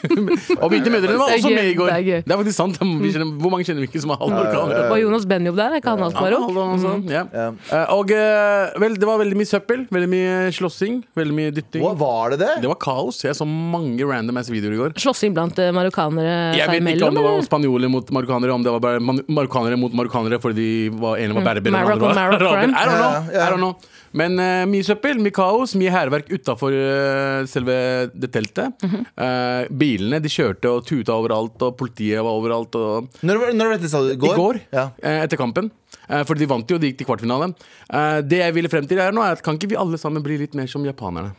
[SPEAKER 2] og hvite mødre var
[SPEAKER 3] Det er
[SPEAKER 2] også
[SPEAKER 3] gøy,
[SPEAKER 2] med i går.
[SPEAKER 3] det er
[SPEAKER 2] Det
[SPEAKER 3] gøy.
[SPEAKER 2] er faktisk sant. Vi kjenner, hvor mange kjenner vi ikke som er halv marokkanere?
[SPEAKER 3] Var Jonas Benjob der? Er ikke han alt
[SPEAKER 2] Ja,
[SPEAKER 3] barokk?
[SPEAKER 2] Halvdan også, ja.
[SPEAKER 1] Ja.
[SPEAKER 2] Eh, Og eh, vel, det var veldig mye søppel, veldig mye slåssing, veldig mye dytting.
[SPEAKER 1] Hva var det det?
[SPEAKER 2] Det var kaos. Jeg så mange random ass videoer i går.
[SPEAKER 3] Slåssing blant eh, marokkanere
[SPEAKER 2] Jeg
[SPEAKER 3] seg
[SPEAKER 2] vet ikke om
[SPEAKER 3] imellom?
[SPEAKER 2] det var
[SPEAKER 3] eller?
[SPEAKER 2] spanjoler mot marokkanere, om det var bare man- marokkanere mot marokkanere fordi de var ene var berber og den
[SPEAKER 3] Maroc
[SPEAKER 2] andre
[SPEAKER 3] on
[SPEAKER 2] var
[SPEAKER 3] Maroc
[SPEAKER 2] araber.
[SPEAKER 3] crime.
[SPEAKER 2] I don't know.
[SPEAKER 1] Ja, ja.
[SPEAKER 2] I don't know. Men eh, mye søppel, mye kaos, mye hærverk utafor eh, selve det teltet. Eh, bilene de kjørte og tuta overalt, og politiet var overalt. Og
[SPEAKER 1] Når var når var dette, sa du? I går?
[SPEAKER 2] I går,
[SPEAKER 1] Ja.
[SPEAKER 2] eh, etter kampen. Eh, For de vant jo, de gikk til kvartfinale. Eh, Det jeg ville frem til her nå, er at kan ikke vi alle sammen bli litt mer som japanerne?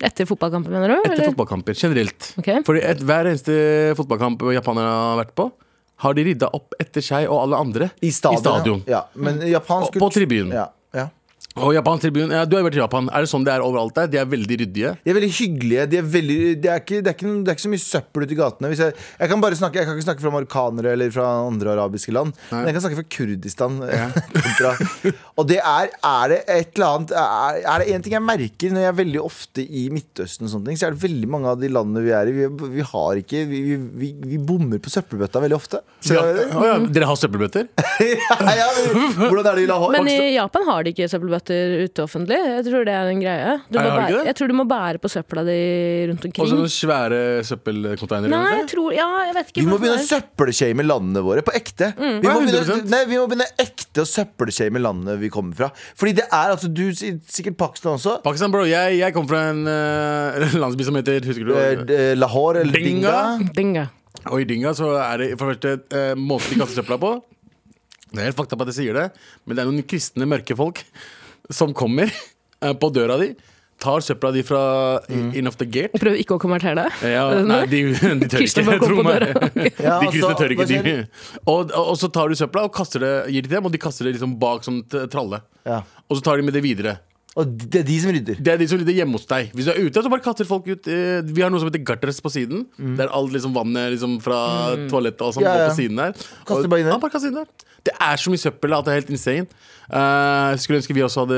[SPEAKER 3] Etter fotballkampen, mener du?
[SPEAKER 2] Etter
[SPEAKER 3] Eller?
[SPEAKER 2] fotballkamper, generelt.
[SPEAKER 3] Ok.
[SPEAKER 2] For hver eneste fotballkamp japanere har vært på, har de rydda opp etter seg og alle andre
[SPEAKER 1] I stadion.
[SPEAKER 2] I stadion.
[SPEAKER 1] Ja. Men japansk
[SPEAKER 2] Og på tribunen.
[SPEAKER 1] Ja. ja.
[SPEAKER 2] Og Japans tribun, ja, Du har jo vært i Japan. Er det sånn det er overalt der? De er veldig ryddige.
[SPEAKER 1] De er veldig hyggelige. De er veldig, det, er ikke, det, er ikke, noe- det er ikke så mye søppel ute i gatene. Hvis jeg, jeg, kan bare snakke, jeg kan ikke snakke fra marokkanere eller fra andre arabiske land, men jeg kan snakke fra Kurdistan. eh, kontra. Og det er, er det et eller annet er, er det én ting jeg merker når jeg er veldig ofte i Midtøsten, og sånne ting, så er det veldig mange av de landene vi er i, vi, vi har ikke Vi, vi, vi, vi bommer på søppelbøtta veldig ofte.
[SPEAKER 2] Ja.
[SPEAKER 1] Skjønner du?
[SPEAKER 2] Å ja, dere har søppelbøtter?
[SPEAKER 1] Ja, ja, men hvordan er det i Lahore?
[SPEAKER 3] Men i Japan har de ikke søppelbøtter ute offentlig. Jeg tror det er en greie. Du
[SPEAKER 2] Nei,
[SPEAKER 3] må
[SPEAKER 2] har de ikke
[SPEAKER 3] bære,
[SPEAKER 2] det?
[SPEAKER 3] jeg tror du må bære på søpla di
[SPEAKER 2] Og
[SPEAKER 3] rundt omkring.
[SPEAKER 2] sånne svære søppelcontainere?
[SPEAKER 3] Nei, jeg
[SPEAKER 2] rundt
[SPEAKER 3] tror Ja, jeg vet ikke.
[SPEAKER 1] Vi må
[SPEAKER 3] hvordan
[SPEAKER 1] begynne å
[SPEAKER 3] det er.
[SPEAKER 1] søppelshame landene våre på ekte. Vi,
[SPEAKER 2] Ja,
[SPEAKER 1] må begynne,
[SPEAKER 2] 100%.
[SPEAKER 1] nei, vi må begynne ekte å søppelshame landene vi kommer fra. Fordi det er altså Du sier sikkert Pakistan også.
[SPEAKER 2] Pakistan, bro. Jeg, jeg kommer fra en eh, landsby som heter Husker du?
[SPEAKER 1] Eh, d- eh, Lahore eller Dinga.
[SPEAKER 2] Dinga.
[SPEAKER 3] Dinga.
[SPEAKER 2] Og i dynga så er det for det første eh, måten de kaster søpla på. Det er helt fakta på at jeg sier det, men det er noen kristne mørke folk som kommer eh, på døra di, tar søpla di fra
[SPEAKER 3] Mm.
[SPEAKER 2] in of the gate.
[SPEAKER 3] Prøv ikke å konvertere deg.
[SPEAKER 2] Ja, nei, de, de tør
[SPEAKER 3] Kristne
[SPEAKER 2] ikke.
[SPEAKER 3] bare
[SPEAKER 2] Tro
[SPEAKER 3] kommer på
[SPEAKER 2] meg.
[SPEAKER 3] døra.
[SPEAKER 2] De
[SPEAKER 1] Ja,
[SPEAKER 2] kristne
[SPEAKER 1] altså,
[SPEAKER 2] tør ikke.
[SPEAKER 1] hva
[SPEAKER 2] De. Og, og så tar du søpla og kaster det, gir det til dem, og de kaster det liksom bak sånn t- tralle.
[SPEAKER 1] Ja.
[SPEAKER 2] Og så tar de med det videre.
[SPEAKER 1] Og det er de som rydder.
[SPEAKER 2] Det er de som rydder hjemme hos deg. Hvis du er ute, så bare kaster folk ut. eh, Vi har noe som heter gutters på siden. Der alt liksom vannet liksom fra toalettet og alt
[SPEAKER 1] Mm.
[SPEAKER 2] sånt
[SPEAKER 1] Ja,
[SPEAKER 2] går
[SPEAKER 1] ja.
[SPEAKER 2] på siden der.
[SPEAKER 1] Kaster
[SPEAKER 2] Og-
[SPEAKER 1] bare inn der.
[SPEAKER 2] Ja, bare kaster inn der. Det er så mye søppel at det er helt insane. Eh, skulle ønske vi også hadde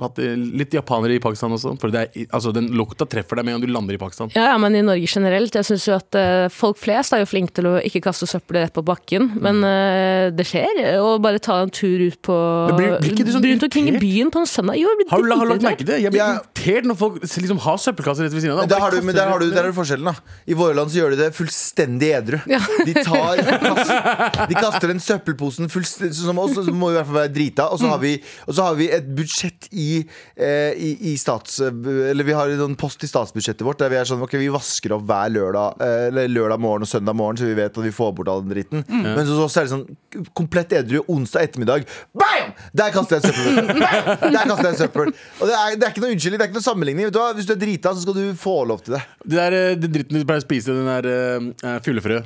[SPEAKER 2] hatt eh, litt japanere i Pakistan også. For det er, altså, den lukta treffer deg med en gang du lander i Pakistan.
[SPEAKER 3] Ja, ja, men i Norge generelt. Jeg synes jo at eh, folk flest er jo flinke til å ikke kaste søppel rett på bakken,
[SPEAKER 2] Mm.
[SPEAKER 3] men eh, det skjer. Og bare ta en tur ut på
[SPEAKER 2] Men blir- blir ikke du sånn
[SPEAKER 3] Rundt omkring i
[SPEAKER 2] irritert?
[SPEAKER 3] byen på en søndag. Jo, jeg blir
[SPEAKER 2] Har du, har du lagt
[SPEAKER 3] dritirritert.
[SPEAKER 2] merke til det? Jeg blir
[SPEAKER 1] Ja.
[SPEAKER 2] irritert når folk liksom har søppelkasser rett ved siden av
[SPEAKER 1] Men
[SPEAKER 2] deg.
[SPEAKER 1] der har du,
[SPEAKER 2] Bare
[SPEAKER 1] men der, har du,
[SPEAKER 2] kaster
[SPEAKER 1] der er forskjellen, da. I våre land så gjør de det fullstendig edru. De, tar, kast, de kaster den søppelposen fullstendig Som også må i hvert fall være drita. Og så har vi, og så har vi et budsjett i, eh, i, i stats... Eller vi har en post i statsbudsjettet vårt der vi er sånn Ok, vi vasker opp hver lørdag eh, Eller lørdag morgen og søndag morgen, så vi vet at vi får bort all den dritten. Men så, så er det sånn komplett edru onsdag ettermiddag. Bam! Der kaster jeg søppel! Bam! Der kaster jeg søppel. Og det er, det er ikke noe unnskyldning, det er ikke noe sammenligning. Vet du hva? Hvis du er drita, så skal du få lov til det.
[SPEAKER 2] Det der eh, det dritten du pleier å spise, den der eh, fuglefrø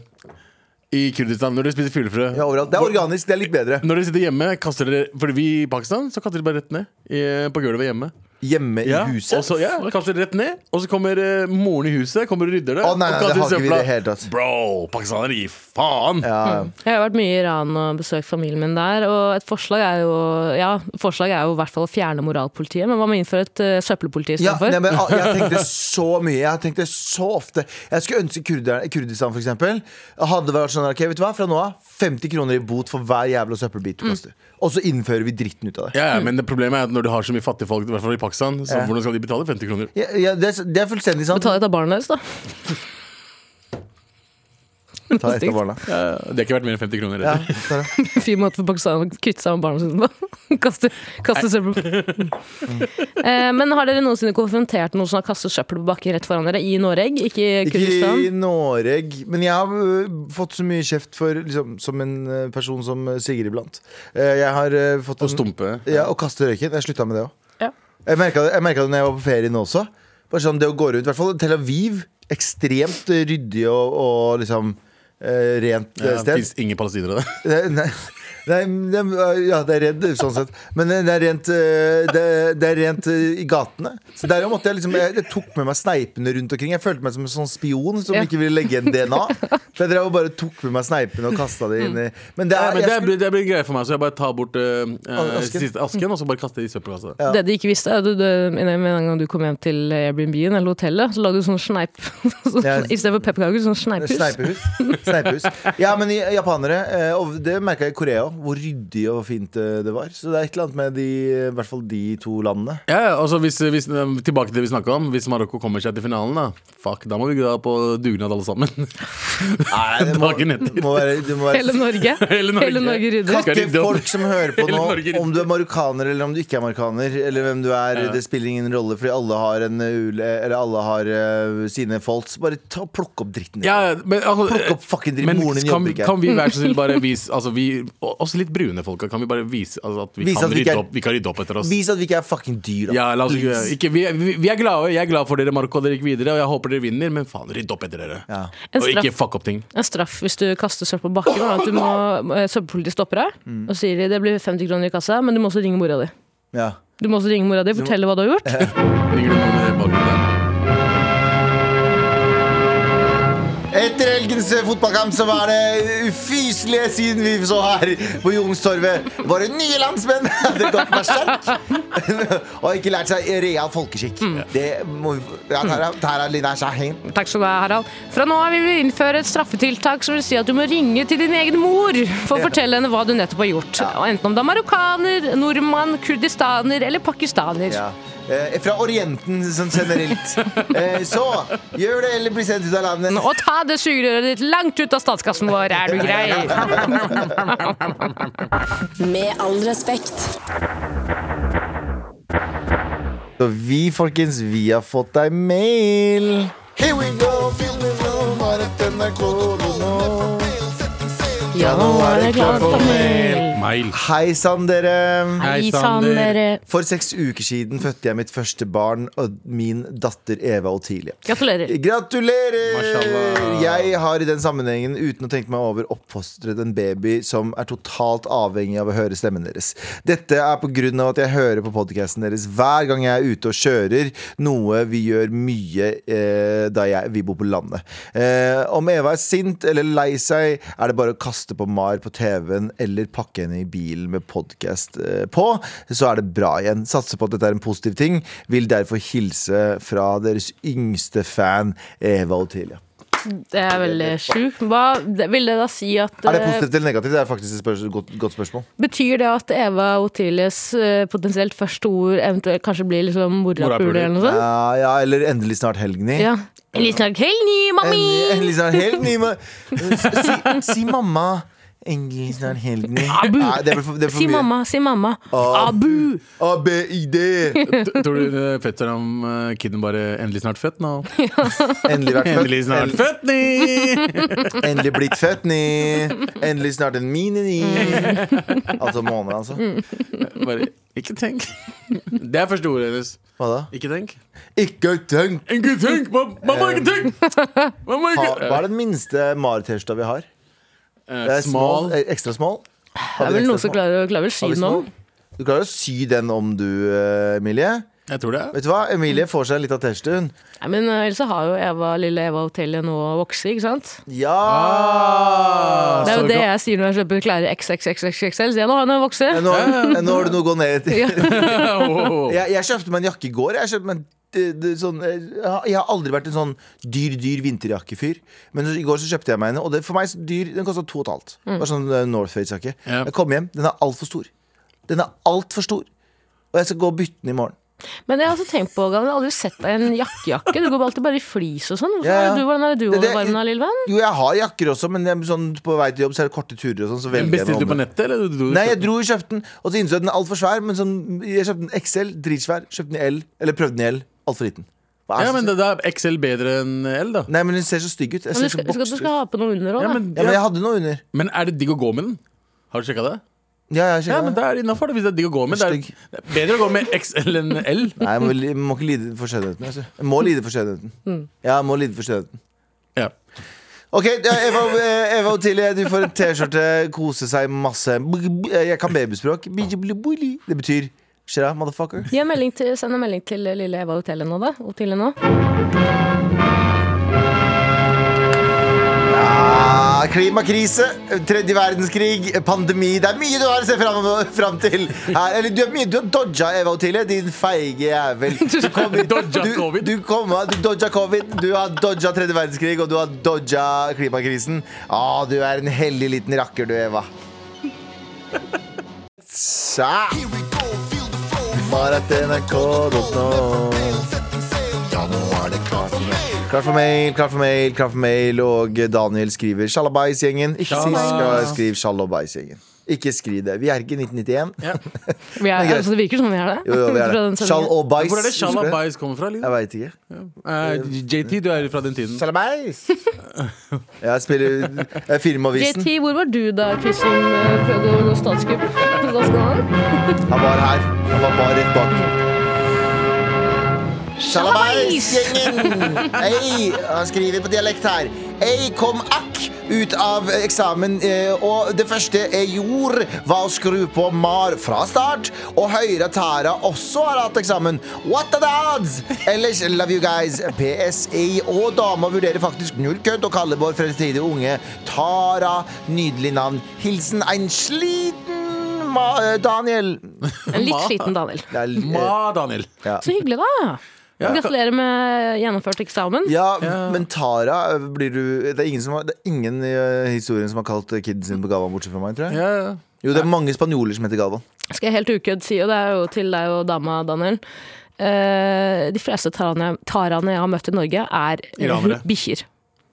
[SPEAKER 2] i Kurdistan. Når dere spiser fuglefrø
[SPEAKER 1] Ja, overalt. Det er organisk, det er litt bedre.
[SPEAKER 2] Når dere sitter hjemme, kaster dere Fordi vi i Pakistan, så kaster dere bare rett ned i, på gulvet hjemme.
[SPEAKER 1] Hjemme i
[SPEAKER 2] Og
[SPEAKER 1] huset.
[SPEAKER 2] så ja, kaster dere rett ned, og så kommer eh, moren i huset Kommer og rydder det.
[SPEAKER 1] Å, nei, nei,
[SPEAKER 2] og
[SPEAKER 1] det har
[SPEAKER 2] kaster
[SPEAKER 1] ikke vi i det hele tatt.
[SPEAKER 2] Bro, pakistanere gir faen!
[SPEAKER 1] Ja.
[SPEAKER 3] Jeg har vært mye i Iran og besøkt familien min der. Og et forslag er jo ja, forslag er jo i hvert fall å fjerne moralpolitiet, men hva med å innføre et eh, søppelpoliti
[SPEAKER 1] Ja,
[SPEAKER 3] istedenfor?
[SPEAKER 1] nei, men, ah, jeg tenkte så mye. Jeg tenkte så ofte Jeg skulle ønske kurderne, Kurdistan for eksempel, hadde vært sånn ok, vet du hva, fra nå av 50 kroner i bot for hver jævla søppelbit du
[SPEAKER 3] Mm.
[SPEAKER 1] kaster. Og så innfører vi dritten ut av det.
[SPEAKER 2] Ja, ja, men det problemet er at når du har så mye fattige folk, i hvert fall i Pakistan, så hvordan skal de betale 50 kroner?
[SPEAKER 1] Ja, ja, det, er- det er fullstendig sant.
[SPEAKER 3] Betale et av barna deres, da.
[SPEAKER 1] Ta et av barna.
[SPEAKER 2] Ja, det har ikke vært mer enn 50 kroner.
[SPEAKER 1] Ja,
[SPEAKER 2] eller?
[SPEAKER 1] ta det.
[SPEAKER 3] Fin måte for pakistanere å kvitte seg med barna sine på. Kaste, kaste søppel. Eh, Men har dere noensinne konfrontert noen som har kastet søppel på bakken rett foran dere i Noreg, ikke i
[SPEAKER 1] Ikke
[SPEAKER 3] Kurdistan?
[SPEAKER 1] i Norge, men jeg har øh, fått så mye kjeft for liksom, som en øh, person som øh, Sigrid Blant. Eh, Jeg har øh, fått
[SPEAKER 2] Og
[SPEAKER 1] en-
[SPEAKER 2] stumpe.
[SPEAKER 1] Ja, og kaste røyken. Jeg slutta med det òg.
[SPEAKER 3] Ja.
[SPEAKER 1] Jeg merka det, jeg merket det når jeg var på ferien også. Bare sånn det å gå rundt, i hvert fall Tel Aviv. Ekstremt eh, ryddig og, og liksom eh, rent eh,
[SPEAKER 2] Ja, det
[SPEAKER 1] sted.
[SPEAKER 2] fins ingen palestinere der.
[SPEAKER 1] Det- Nei, nei, det- ja, det er redd, sånn sett. Men det er rent, eh, det, det er rent eh, i gatene. Så der måtte jeg liksom jeg, jeg tok med meg sneipene rundt omkring. Jeg følte meg som en sånn spion som
[SPEAKER 3] Ja.
[SPEAKER 1] ikke ville legge igjen DNA. Så jeg drev og bare tok med meg sneipene og kasta det
[SPEAKER 3] Mm.
[SPEAKER 1] inn i Men det
[SPEAKER 2] Ja,
[SPEAKER 1] er,
[SPEAKER 2] men det,
[SPEAKER 1] jeg
[SPEAKER 2] blir, det blir greie for meg, så jeg bare tar bort eh, eh,
[SPEAKER 1] Asken.
[SPEAKER 2] siste asken og så bare kaster det i søppelkassa.
[SPEAKER 1] Ja.
[SPEAKER 3] Det de ikke visste, er at du, du, med en gang du kom hjem til Airbnb-en eller hotellet, så lagde du sånn sneip. Sånn,
[SPEAKER 1] Ja.
[SPEAKER 3] I stedet for pepperkaker, sånn sneipus.
[SPEAKER 1] Sneipehus. Sneipehus. Ja, men i- japanere eh, Og det merka jeg i Korea, også, hvor ryddig og fint eh, det var. Så det er et eller annet med de, i hvert fall de to landene.
[SPEAKER 2] Ja, ja, altså hvis, hvis, Tilbake til det vi snakket om. Hvis Marokko kommer seg til finalen, da Fuck, da må vi dra på dugnad alle sammen.
[SPEAKER 1] Nei, det må,
[SPEAKER 2] Dagen etter.
[SPEAKER 1] må være, det må
[SPEAKER 3] Hele
[SPEAKER 1] være
[SPEAKER 3] Norge.
[SPEAKER 2] Hele Norge.
[SPEAKER 3] rydder.
[SPEAKER 2] Skal
[SPEAKER 1] Takke
[SPEAKER 2] rydde opp.
[SPEAKER 1] folk som hører på nå,
[SPEAKER 2] Hele Norge rydder.
[SPEAKER 1] om du er marokkaner eller om du ikke er marokkaner, eller hvem du er, det spiller ingen rolle, fordi alle har, en, ule- eller alle har eh, sine faults. Bare ta, plukk opp dritten din.
[SPEAKER 2] Ja, men altså,
[SPEAKER 1] Plukk opp fucking dritt.
[SPEAKER 2] men
[SPEAKER 1] Moren din
[SPEAKER 2] kan,
[SPEAKER 1] jobber ikke.
[SPEAKER 2] kan vi være så snill bare vise altså, vi, Også litt brune folka, kan vi bare vise altså, at vi
[SPEAKER 1] Vise
[SPEAKER 2] kan
[SPEAKER 1] at vi ikke
[SPEAKER 2] rydde
[SPEAKER 1] er-
[SPEAKER 2] opp, vi kan rydde opp etter oss?
[SPEAKER 1] Vis at vi ikke er fucking dyr, da.
[SPEAKER 2] ja, la oss ikke,
[SPEAKER 1] Please.
[SPEAKER 2] ikke, vi, vi, vi er glade. Jeg er glad for dere, Marokko. Dere gikk videre, og jeg håper dere vinner, men faen, rydd opp etter dere.
[SPEAKER 1] Ja.
[SPEAKER 3] En
[SPEAKER 2] Og ikke
[SPEAKER 3] straff.
[SPEAKER 2] fuck opp ting.
[SPEAKER 3] En straff hvis du kaster søppel på bakken. er At du må, eh, Søppelpolitiet stopper deg og sier de, det blir 50 kroner i kassa, men du må også ringe mora di.
[SPEAKER 1] Ja.
[SPEAKER 3] Du må også ringe mora di og fortelle hva du har gjort.
[SPEAKER 2] Ringer du noen med det bakgrunnen der?
[SPEAKER 1] Etter helgens fotballkamp så var det ufyselige siden vi så her på Youngstorget. Våre nye landsmenn hadde gått berserk og ikke lært seg real folkeskikk. Det må vi ja, Tara, Tara Lina Shahin.
[SPEAKER 3] Takk skal du ha, Harald. Fra nå av vil vi innføre et straffetiltak som vil si at du må ringe til din egen mor for å fortelle henne hva du nettopp har gjort. Og Enten om du er marokkaner, nordmann, kurdistaner eller pakistaner.
[SPEAKER 1] Ja. Eh, fra Orienten sånn generelt. Eh, så gjør det eller bli sendt ut av landet.
[SPEAKER 3] Og ta det sugerøret ditt langt ut av statskassen vår, er du grei?
[SPEAKER 4] Med all respekt.
[SPEAKER 1] Så vi, folkens, vi har fått deg mail. Here we go, feel the flow, bare et NRK-logo. Ja, nå er det klart for mail.
[SPEAKER 2] Mail.
[SPEAKER 1] Hei sann, dere.
[SPEAKER 3] Hei
[SPEAKER 2] Hei,
[SPEAKER 3] sann,
[SPEAKER 2] Sander.
[SPEAKER 3] dere.
[SPEAKER 1] For seks uker siden fødte jeg mitt første barn, og min datter Eva Otilie.
[SPEAKER 3] Gratulerer.
[SPEAKER 1] Gratulerer!
[SPEAKER 2] Mashallah.
[SPEAKER 1] Jeg har i den sammenhengen, uten å tenke meg over, oppfostret en baby som er totalt avhengig av å høre stemmen deres. Dette er på grunn av at jeg hører på podcasten deres hver gang jeg er ute og kjører, noe vi gjør mye eh, da jeg, vi bor på landet. Eh, om Eva er sint eller lei seg, er det bare å kaste på Mar på TV-en eller pakke henne i bilen med podcast eh, på, så er det bra igjen. Satser på at dette er en positiv ting. Vil derfor hilse fra deres yngste fan, Eva Otilia.
[SPEAKER 3] Det er veldig
[SPEAKER 1] Eh,
[SPEAKER 3] sjukt. Hva det- vil det da si at
[SPEAKER 1] Er det
[SPEAKER 3] eh,
[SPEAKER 1] positivt eller negativt? Det er faktisk et spørs- godt, godt spørsmål.
[SPEAKER 3] Betyr det at Eva Otilies eh, potensielt første ord eventuelt kanskje blir liksom morapuler
[SPEAKER 2] Morapuler.
[SPEAKER 3] eller noe sånt?
[SPEAKER 1] Ja, ja, eller endelig snart helgni.
[SPEAKER 3] Ja. En liten snart helg, ni,
[SPEAKER 1] Endelig,
[SPEAKER 3] mami!
[SPEAKER 1] endelig snart helgni. ma- Si, si mamma. Endelig snart helgni.
[SPEAKER 3] Abu.
[SPEAKER 1] Nei, det er for, det er for
[SPEAKER 3] Si
[SPEAKER 1] mye.
[SPEAKER 3] mamma, si mamma. Abu!
[SPEAKER 1] ABID.
[SPEAKER 2] T- Tror du eh, fetteren om eh, kiden bare endelig snart født nå?
[SPEAKER 1] Endelig vært født.
[SPEAKER 2] Endelig snart
[SPEAKER 1] Endelig-
[SPEAKER 2] født, ni!
[SPEAKER 1] Endelig blitt født, ni. Endelig snart en mini-ni. Altså måned, altså.
[SPEAKER 3] Mm.
[SPEAKER 2] Bare, ikke tenk. Det er første ordet hennes.
[SPEAKER 1] Hva da?
[SPEAKER 2] Ikke tenk.
[SPEAKER 1] Ikke tenk
[SPEAKER 2] Ikke tenk! ma- Mamma, ikke tenk! Mamma,
[SPEAKER 1] Eh, ha,
[SPEAKER 2] ikke
[SPEAKER 1] Hva er den minste maritørsta vi har?
[SPEAKER 2] Eh,
[SPEAKER 1] Det er
[SPEAKER 2] Smal.
[SPEAKER 1] smal, eh, Ekstra smal?
[SPEAKER 3] Det er vel noen som klarer, klarer
[SPEAKER 1] Har
[SPEAKER 3] vel si
[SPEAKER 1] vi
[SPEAKER 3] den om.
[SPEAKER 1] smal? Du klarer å sy den om du, eh, Emilie.
[SPEAKER 2] Jeg tror det.
[SPEAKER 1] Vet du hva? Emilie får seg litt av T-skjorten.
[SPEAKER 3] Nei, men eh, ellers så har jo Eva, lille Eva Otelie nå vokse, ikke sant?
[SPEAKER 1] Ja! Altså,
[SPEAKER 3] Det er
[SPEAKER 2] så
[SPEAKER 3] jo det
[SPEAKER 2] bra.
[SPEAKER 3] jeg sier når jeg kjøper klær i XXXXXL. Så jeg, nå har hun vokse.
[SPEAKER 1] Nå, nå har du noe å gå ned til.
[SPEAKER 3] Ja.
[SPEAKER 2] Wow.
[SPEAKER 1] Jeg, jeg kjøpte meg en jakke i går. Jeg, kjøpte meg en, eh, det- sånn, eh, jeg har- jeg har aldri vært en sånn dyr, dyr vinterjakkefyr. Men så, i går så kjøpte jeg meg en, og det, for meg så dyr, den kosta to og et halvt.
[SPEAKER 3] Mm.
[SPEAKER 1] Det var sånn eh, Northface-jakke.
[SPEAKER 2] Ja.
[SPEAKER 1] Jeg kom hjem, den er altfor stor. Den er altfor stor. Og jeg skal gå og bytte den i morgen.
[SPEAKER 3] Men jeg har også tenkt på, Galvan, jeg har aldri sett deg i en jakkejakke. Du går alltid bare i flis og sånn. Hvorfor
[SPEAKER 1] Ja, ja.
[SPEAKER 3] er du- Hvordan er det du
[SPEAKER 1] Det- det-
[SPEAKER 3] overvarmer deg, lille venn?
[SPEAKER 1] Jo, jeg har jakker også, men jeg, sånn, på vei til jobb så er det korte turer og sånn. Så velger jeg
[SPEAKER 2] Bestilte du
[SPEAKER 1] noe
[SPEAKER 2] på
[SPEAKER 1] om det.
[SPEAKER 2] nettet, eller? Du, du,
[SPEAKER 1] Nei, jeg dro og kjøpte den, og så innså jeg at den er altfor svær. Men sånn, jeg kjøpte den XL, dritsvær. Kjøpte den i L, eller prøvde den i L. Altfor liten. Hva er
[SPEAKER 2] ja,
[SPEAKER 1] så-
[SPEAKER 2] men det, da er XL bedre enn L, da.
[SPEAKER 1] Nei, men den ser så stygg ut. Jeg
[SPEAKER 3] Men
[SPEAKER 1] ser
[SPEAKER 3] du skal,
[SPEAKER 1] så
[SPEAKER 3] skal, du
[SPEAKER 1] bokset ut.
[SPEAKER 3] skal ha på noe under òg,
[SPEAKER 2] Ja,
[SPEAKER 3] da.
[SPEAKER 2] men,
[SPEAKER 1] Ja, men jeg hadde noe under.
[SPEAKER 2] men er det digg å gå med den? Har du sjekka det?
[SPEAKER 1] Ja, jeg
[SPEAKER 2] Ja,
[SPEAKER 1] sjekket
[SPEAKER 2] men
[SPEAKER 1] det.
[SPEAKER 2] det er innafor, hvis det er digg å gå med. Det er,
[SPEAKER 1] Stygg.
[SPEAKER 2] det er bedre å gå med XL enn L.
[SPEAKER 1] Nei, jeg må, jeg må ikke lide for skjønnheten. Altså. Jeg må lide for skjønnheten.
[SPEAKER 3] Mm.
[SPEAKER 1] Ja, jeg må lide for skjønnheten.
[SPEAKER 2] Ja.
[SPEAKER 1] Ok, ja, Eva, eh, Eva Otilie, du får en T-skjorte. Kose seg masse. Jeg kan babyspråk. Det betyr Shira, motherfucker.
[SPEAKER 3] Gi en melding til, send en melding til eh, lille Eva Hotellet nå, da. Hotellet nå.
[SPEAKER 1] Ja, Ah, klimakrise, tredje verdenskrig, pandemi. Det er mye du har å se fram, fram til her. Eller du har, mye, du har dodga, Eva Otilie, din feige jævel. Du, kom, hit-
[SPEAKER 2] Dodga
[SPEAKER 1] du,
[SPEAKER 2] covid.
[SPEAKER 1] Du, kom, du dodga covid, du har dodga tredje verdenskrig, og du har dodga klimakrisen. Ah, du er en heldig liten rakker, du, Eva. Sa. Bare at nrk.no Klar for mail, klar for mail, klar for mail. Og Daniel skriver 'Sjalabais-gjengen'. Ikke si skal- skriv 'Sjalabais-gjengen'. Ikke skriv det. Vi er ikke i 1991.
[SPEAKER 3] Vi er,
[SPEAKER 1] Det er greit.
[SPEAKER 3] altså, det virker som vi er det.
[SPEAKER 1] Jo, jo, vi er
[SPEAKER 3] Fra den
[SPEAKER 1] det.
[SPEAKER 3] sendingen.
[SPEAKER 1] Sjalabais.
[SPEAKER 2] Hvor er det
[SPEAKER 1] husker du det?
[SPEAKER 2] Shalabais kommer fra?
[SPEAKER 1] Jeg
[SPEAKER 2] Liksom?
[SPEAKER 1] veit ikke.
[SPEAKER 2] Eh, JT, du er fra den tiden.
[SPEAKER 1] Sjalabais! Jeg spiller jeg er Filmavisen.
[SPEAKER 3] JT, hvor var du da Kristin eh, prøvde å gå statskupp? Da skal han.
[SPEAKER 1] Han var her. Han var bare rett bak. Sjalabais-gjengen! Ei, han skriver på dialekt her. Ei kom akk ut av eksamen, eh, og det første jeg gjorde, var å skru på MAR fra start. Og høre Tara også har hatt eksamen. What are the odds? Ellers love you guys. PS, jeg og dama vurderer faktisk null kødd og kaller vår fremtidige unge Tara. Nydelig navn. Hilsen en sliten ma Daniel.
[SPEAKER 3] En litt sliten Daniel.
[SPEAKER 1] Det er, eh,
[SPEAKER 2] Ma, Daniel.
[SPEAKER 3] Så hyggelig, da.
[SPEAKER 2] Ja.
[SPEAKER 3] Gratulerer med gjennomført eksamen.
[SPEAKER 1] Ja, men Tara blir du Det er ingen, som har, det er ingen i eh, historien som har kalt kiden sin på Galvan, bortsett fra meg, tror jeg.
[SPEAKER 2] Ja, ja.
[SPEAKER 1] Jo, det er mange spanjoler som heter Galvan.
[SPEAKER 3] Skal jeg helt ukødd si, og det er jo til deg og dama, Daniel. eh, de fleste tarane, tarane jeg har møtt i Norge, er eh,
[SPEAKER 2] Iranere.
[SPEAKER 3] bikkjer.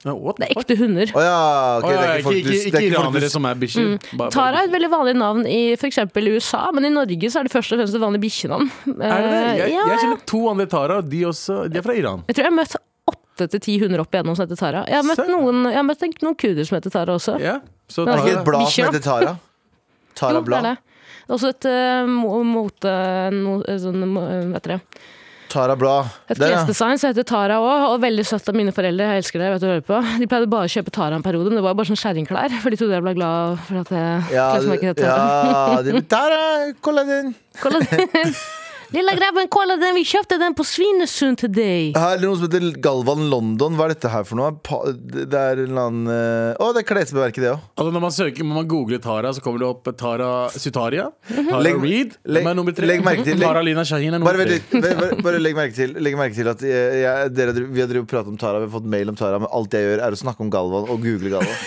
[SPEAKER 2] Ja, what the
[SPEAKER 3] Det er
[SPEAKER 2] fuck?
[SPEAKER 3] ekte hunder.
[SPEAKER 1] Å ja, ok,
[SPEAKER 2] Å,
[SPEAKER 1] det
[SPEAKER 2] ja,
[SPEAKER 1] er
[SPEAKER 2] Ikke,
[SPEAKER 1] ikke folk du
[SPEAKER 2] ikke,
[SPEAKER 1] det er
[SPEAKER 2] ikke
[SPEAKER 1] ikke folk du-
[SPEAKER 2] iranere som er bikkjer. Bare-
[SPEAKER 3] Mm. Tara er et veldig vanlig navn i f.eks. USA, men i Norge så er det først og fremst et vanlig bikkjenavn.
[SPEAKER 2] Er det det?
[SPEAKER 3] Eh,
[SPEAKER 2] Jeg,
[SPEAKER 3] ja,
[SPEAKER 2] jeg kjenner to andre Tara, og de, også, de er fra Iran.
[SPEAKER 3] Jeg tror jeg har møtt åtte til ti hunder opp igjennom som heter Tara. Jeg har møtt,
[SPEAKER 2] Søren.
[SPEAKER 3] noen, jeg har møtt en- noen kuder som heter Tara også.
[SPEAKER 2] Ja. Så
[SPEAKER 3] Men
[SPEAKER 1] Er det ikke
[SPEAKER 2] da,
[SPEAKER 1] et blad som
[SPEAKER 3] Bikkjer, da.
[SPEAKER 1] heter Tara?
[SPEAKER 3] Jo,
[SPEAKER 1] Tara
[SPEAKER 3] det er
[SPEAKER 1] Blad.
[SPEAKER 3] det. Det er Også et eh, mo- mote... No, sånn, mo- hva heter det?
[SPEAKER 1] Tara Blad.
[SPEAKER 3] Et
[SPEAKER 1] Der, ja.
[SPEAKER 3] klesdesign som heter Tara òg, og veldig søtt av mine foreldre. Jeg elsker det, jeg vet du hører på. De pleide bare å kjøpe Tara en periode, men det var jo bare sånn skjæringklær. For de trodde jeg ble glad for at jeg
[SPEAKER 1] Ja,
[SPEAKER 3] klesmerket het Tara.
[SPEAKER 1] ja det, Tara, kolla den!
[SPEAKER 3] Kolla den. Lilla grabben, kolla den, vi kjøpte den på Svinesund til deg.
[SPEAKER 1] Her er noe som heter Galvan London. Hva er dette her for noe? Pa, det det er en eller annen eh, Å, det er klesbeverket, det òg.
[SPEAKER 2] altså når, man søker, når man googler Tara, så kommer det opp Tara Sutaria. Tara
[SPEAKER 1] Legg-
[SPEAKER 2] Reed.
[SPEAKER 1] legg-
[SPEAKER 2] Hvem er nummer tre?
[SPEAKER 1] legg merke til- legg-
[SPEAKER 2] Tara Lina Shahin er
[SPEAKER 1] Bare,
[SPEAKER 2] nummer
[SPEAKER 1] vent
[SPEAKER 2] tre.
[SPEAKER 1] litt. Bare- bare, bare legg merke til, legg merke til at jeg, jeg, dere, vi har drevet og pratet om Tara, vi har fått mail om Tara, men alt jeg gjør, er å snakke om Galvan og google Galvan.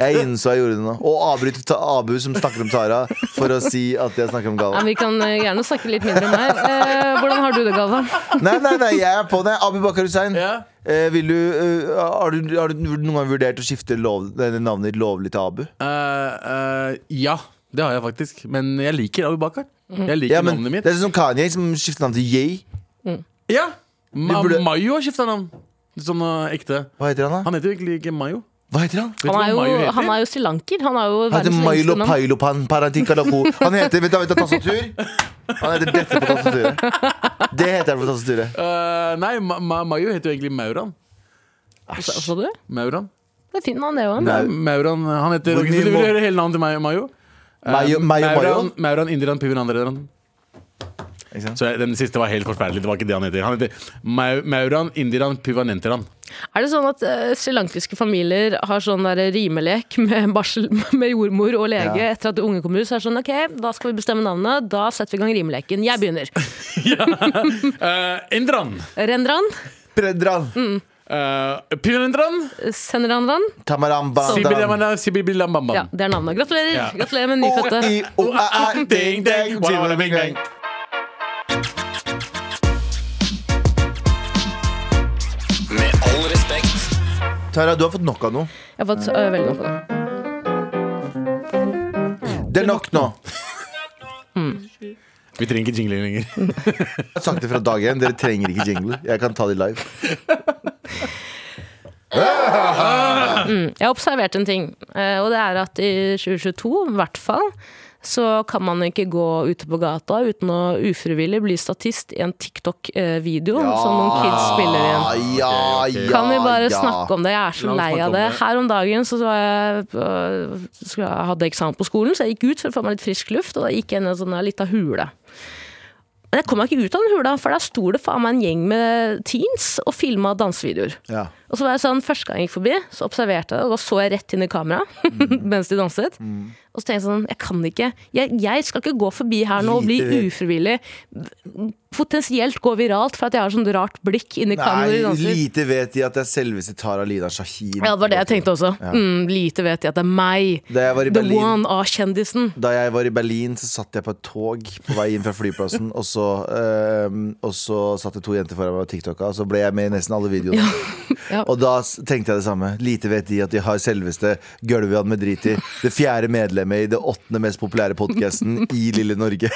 [SPEAKER 1] Jeg, innså jeg gjorde det nå. Og avbryte ta, Abu, som snakker om Tara, for å si at jeg snakker om
[SPEAKER 3] Ja,
[SPEAKER 1] Galvan.
[SPEAKER 3] vi kan eh, gjerne snakke litt mindre om meg. Eh, hvordan har du det, Galvan?
[SPEAKER 1] Nei, nei, nei, jeg er på det. Abu Bakar Hussein.
[SPEAKER 2] Ja.
[SPEAKER 1] Eh, vil du, eh, har, du, har du noen gang vurdert å skifte lov, nei, navnet ditt lovlig til Abu?
[SPEAKER 2] Eh, eh, ja, det har jeg faktisk. Men jeg liker Abu Bakar.
[SPEAKER 3] Mhm.
[SPEAKER 2] Jeg liker
[SPEAKER 1] Ja, men,
[SPEAKER 2] navnet
[SPEAKER 1] det
[SPEAKER 2] mitt.
[SPEAKER 1] er sånn som Kanye som skifter navn til Ye.
[SPEAKER 2] Ja! Ma
[SPEAKER 1] Vi burde-
[SPEAKER 2] Mayo har skifta navn. Sånn eh, ekte.
[SPEAKER 1] Hva heter han, da?
[SPEAKER 2] Han heter jo egentlig ikke Mayo.
[SPEAKER 1] Hva heter han?
[SPEAKER 2] Vet du
[SPEAKER 3] Han er
[SPEAKER 2] hva Mayo
[SPEAKER 3] jo,
[SPEAKER 2] heter?
[SPEAKER 3] han er jo srilanker. Han er jo
[SPEAKER 1] Han heter
[SPEAKER 3] verdens
[SPEAKER 1] Milo
[SPEAKER 3] lengste navn.
[SPEAKER 1] Pailopan Parantikalako. Han heter Vent, da, vent, da, tastatur. Han heter dette på tastaturet. Det heter han på tastaturet.
[SPEAKER 2] Eh, nei, Ma Ma Mayo heter jo egentlig Mauran.
[SPEAKER 3] Sa sa Altså, du?
[SPEAKER 2] Mauran.
[SPEAKER 3] Det er fin navn, det òg.
[SPEAKER 1] Nei.
[SPEAKER 2] Nei, Mauran eh, han heter
[SPEAKER 1] Hvor
[SPEAKER 2] Vil
[SPEAKER 1] mye
[SPEAKER 2] du
[SPEAKER 1] må-
[SPEAKER 2] høre hele navnet til Mayo? Mayo? Eh,
[SPEAKER 1] Mayo- Mayo Mayo?
[SPEAKER 2] Mauran, Mauran Indiran Pivinandaran.
[SPEAKER 1] Ikke sant?
[SPEAKER 2] Så jeg- den siste var helt forferdelig. Det var ikke det han heter. Han heter Mau- Mauran Indiran Pivanenteran.
[SPEAKER 3] Er det sånn at eh, srilankiske familier har sånn der rimelek med, barsel, med jordmor og lege
[SPEAKER 1] Ja.
[SPEAKER 3] etter at ungen kommer ut? Så er det sånn, ok, da skal vi bestemme navnet. Da setter vi i gang rimeleken. Jeg begynner.
[SPEAKER 2] Eh, Indran.
[SPEAKER 3] Rendran,
[SPEAKER 1] Predran.
[SPEAKER 2] Uh, Pivanenteran.
[SPEAKER 3] Senranran.
[SPEAKER 1] Tamaramba.
[SPEAKER 2] Sibilamana, sibibilambambam.
[SPEAKER 3] Ja, det er navnet. Gratulerer.
[SPEAKER 2] Ja.
[SPEAKER 3] Gratulerer med nyfødte.
[SPEAKER 2] Ding, ding, walla, walla, bing, bang.
[SPEAKER 5] Med all respekt.
[SPEAKER 1] Tara, du har fått nok av noe.
[SPEAKER 3] Jeg har fått så, øh, veldig noe på det.
[SPEAKER 1] Det er nok nå.
[SPEAKER 2] Vi trenger ikke jingling lenger.
[SPEAKER 1] Jeg har sagt det fra dag én. Dere trenger ikke jingle. Jeg kan ta de live.
[SPEAKER 3] Jeg har observert en ting, eh, og det er at i 2022, i hvert fall, så kan man ikke gå ute på gata uten å ufrivillig bli statist i en TikTok-video som noen kids spiller inn.
[SPEAKER 1] Ja, ja, ja.
[SPEAKER 3] Kan vi bare
[SPEAKER 1] ja.
[SPEAKER 3] snakke om det? Jeg er
[SPEAKER 2] La
[SPEAKER 3] så
[SPEAKER 2] oss
[SPEAKER 3] lei
[SPEAKER 2] snakke om
[SPEAKER 3] av det.
[SPEAKER 2] det.
[SPEAKER 3] Her om dagen så var jeg, øh, skulle jeg hadde jeg eksamen på skolen, så jeg gikk ut for å få meg litt frisk luft, og da gikk jeg inn i en sånn der lita hule. Men jeg kom meg ikke ut av den hula, for der sto det faen meg en gjeng med teens og filma dansevideoer.
[SPEAKER 1] Ja.
[SPEAKER 3] Og så var jeg sånn, Første gang jeg gikk forbi, så observerte jeg det, og da så jeg rett inn i kameraet
[SPEAKER 2] Mm.
[SPEAKER 3] mens de danset. Og så tenkte jeg sånn, jeg kan ikke Jeg, jeg skal ikke gå forbi her nå og bli
[SPEAKER 1] Lite-
[SPEAKER 3] ufrivillig Potensielt gå viralt for at jeg har sånn rart blikk inni kameraet når de
[SPEAKER 1] Nei,
[SPEAKER 3] danser.
[SPEAKER 1] lite vet de at det er selveste Tara Lina Shahin.
[SPEAKER 3] Ja, det var det jeg tenkte også. Mm, lite vet jeg at det er meg.
[SPEAKER 1] Da jeg var i
[SPEAKER 3] The
[SPEAKER 1] Berlin
[SPEAKER 3] one av kjendisen.
[SPEAKER 1] Da jeg var i Berlin, så satt jeg på et tog på vei inn fra flyplassen. Og så, ehm, og så satt det to jenter foran meg og TikToka, og så ble jeg med i nesten alle videoene.
[SPEAKER 3] ja.
[SPEAKER 1] Og da s- tenkte jeg det samme. Lite vet de at de har selveste Gølvian med drit i. Det fjerde medlemmet i det åttende mest populære podkasten i lille Norge.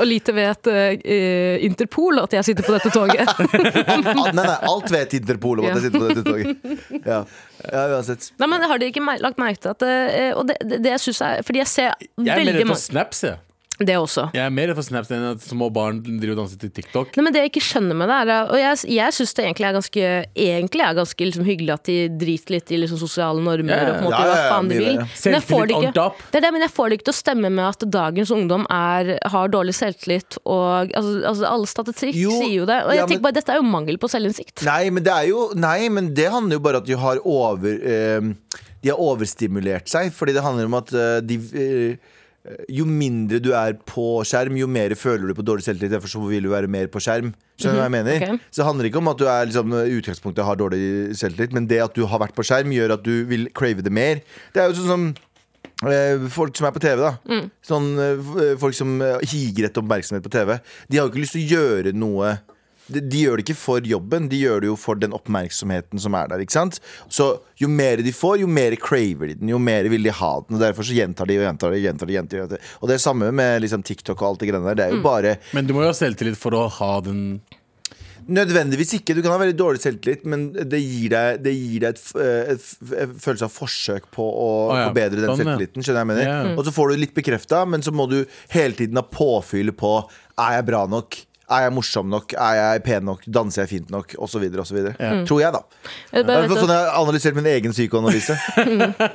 [SPEAKER 3] Og lite vet eh, eh, Interpol at jeg sitter på dette toget.
[SPEAKER 1] Al- Nei, nei, alt vet Interpol om at jeg sitter på dette toget. Ja, ja uansett.
[SPEAKER 3] Nei, men Har dere ikke mer- lagt merke til at eh, Og det, det, det jeg synes er Fordi jeg ser
[SPEAKER 2] Jeg er mer
[SPEAKER 3] veldig
[SPEAKER 2] redd for
[SPEAKER 3] mange
[SPEAKER 2] snaps, jeg.
[SPEAKER 3] Det også.
[SPEAKER 2] Jeg er mer redd for snaps enn at små barn driver og danser til TikTok.
[SPEAKER 3] Nei, men Det jeg ikke skjønner med det, er Og jeg, jeg syns det egentlig er ganske, egentlig er ganske liksom, hyggelig at de driter litt i liksom, sosiale normer
[SPEAKER 2] Ja, ja.
[SPEAKER 3] og på en måte
[SPEAKER 1] Ja, ja,
[SPEAKER 3] gjør
[SPEAKER 1] ja,
[SPEAKER 3] hva faen de
[SPEAKER 1] mye
[SPEAKER 3] vil.
[SPEAKER 1] det, ja.
[SPEAKER 3] Men jeg får det
[SPEAKER 2] Selvtillit on
[SPEAKER 3] ikke,
[SPEAKER 2] top.
[SPEAKER 3] det er det, men jeg får det ikke til å stemme med at dagens ungdom er, har dårlig selvtillit og altså, altså, Alle statistikk
[SPEAKER 1] Jo,
[SPEAKER 3] sier jo det. Og jeg
[SPEAKER 1] ja, men-
[SPEAKER 3] tenker bare dette er jo mangel på selvinnsikt.
[SPEAKER 1] Nei, men det er jo Nei, men det handler jo bare at de har over ehm, De har overstimulert seg Fordi det handler om at eh, de eh, Jo mindre du er på skjerm Jo mer føler du på dårlig selvtillit Derfor så vil du være mer på skjerm Skjønner du hva jeg mener?
[SPEAKER 3] ok.
[SPEAKER 1] Så det handler ikke om at du er liksom, i utgangspunktet har dårlig selvtillit Men det at du har vært på skjerm gjør at du vil crave det mer Det er jo sånn som Eh, Folk som er på TV, da. Sånn, eh, f- folk som eh, higer etter oppmerksomhet på TV. De har jo ikke lyst til å gjøre noe de, de gjør det ikke for jobben, de gjør det jo for den oppmerksomheten som er der. ikke sant? Så jo mer de får, jo mer craver de den, jo mer vil de ha den. Og Derfor så gjentar de og gjentar de. gjentar de, gjentar de, gjentar de. Og det er samme med liksom, TikTok og alt det greiene der. Det er jo bare
[SPEAKER 2] Men du må jo ha selvtillit for å ha den
[SPEAKER 1] Nødvendigvis ikke. Du kan ha veldig dårlig selvtillit, men det gir deg, det gir deg et, f- eh, et, f- eh, følelse av forsøk på å
[SPEAKER 2] Å, ja.
[SPEAKER 1] forbedre den
[SPEAKER 2] Sånn, ja.
[SPEAKER 1] selvtilliten. Skjønner jeg hva jeg mener?
[SPEAKER 2] Ja, ja.
[SPEAKER 1] Og så får du litt bekrefta, men så må du hele tiden ha påfyll på Er jeg bra nok? Er jeg morsom nok? Er jeg pen nok? Danser jeg fint nok? Og så videre og så videre. Tror jeg, da. Det
[SPEAKER 3] Jeg bare
[SPEAKER 1] er
[SPEAKER 3] vet
[SPEAKER 1] sånn
[SPEAKER 3] at
[SPEAKER 1] jeg har analysert min egen psykoanalyse.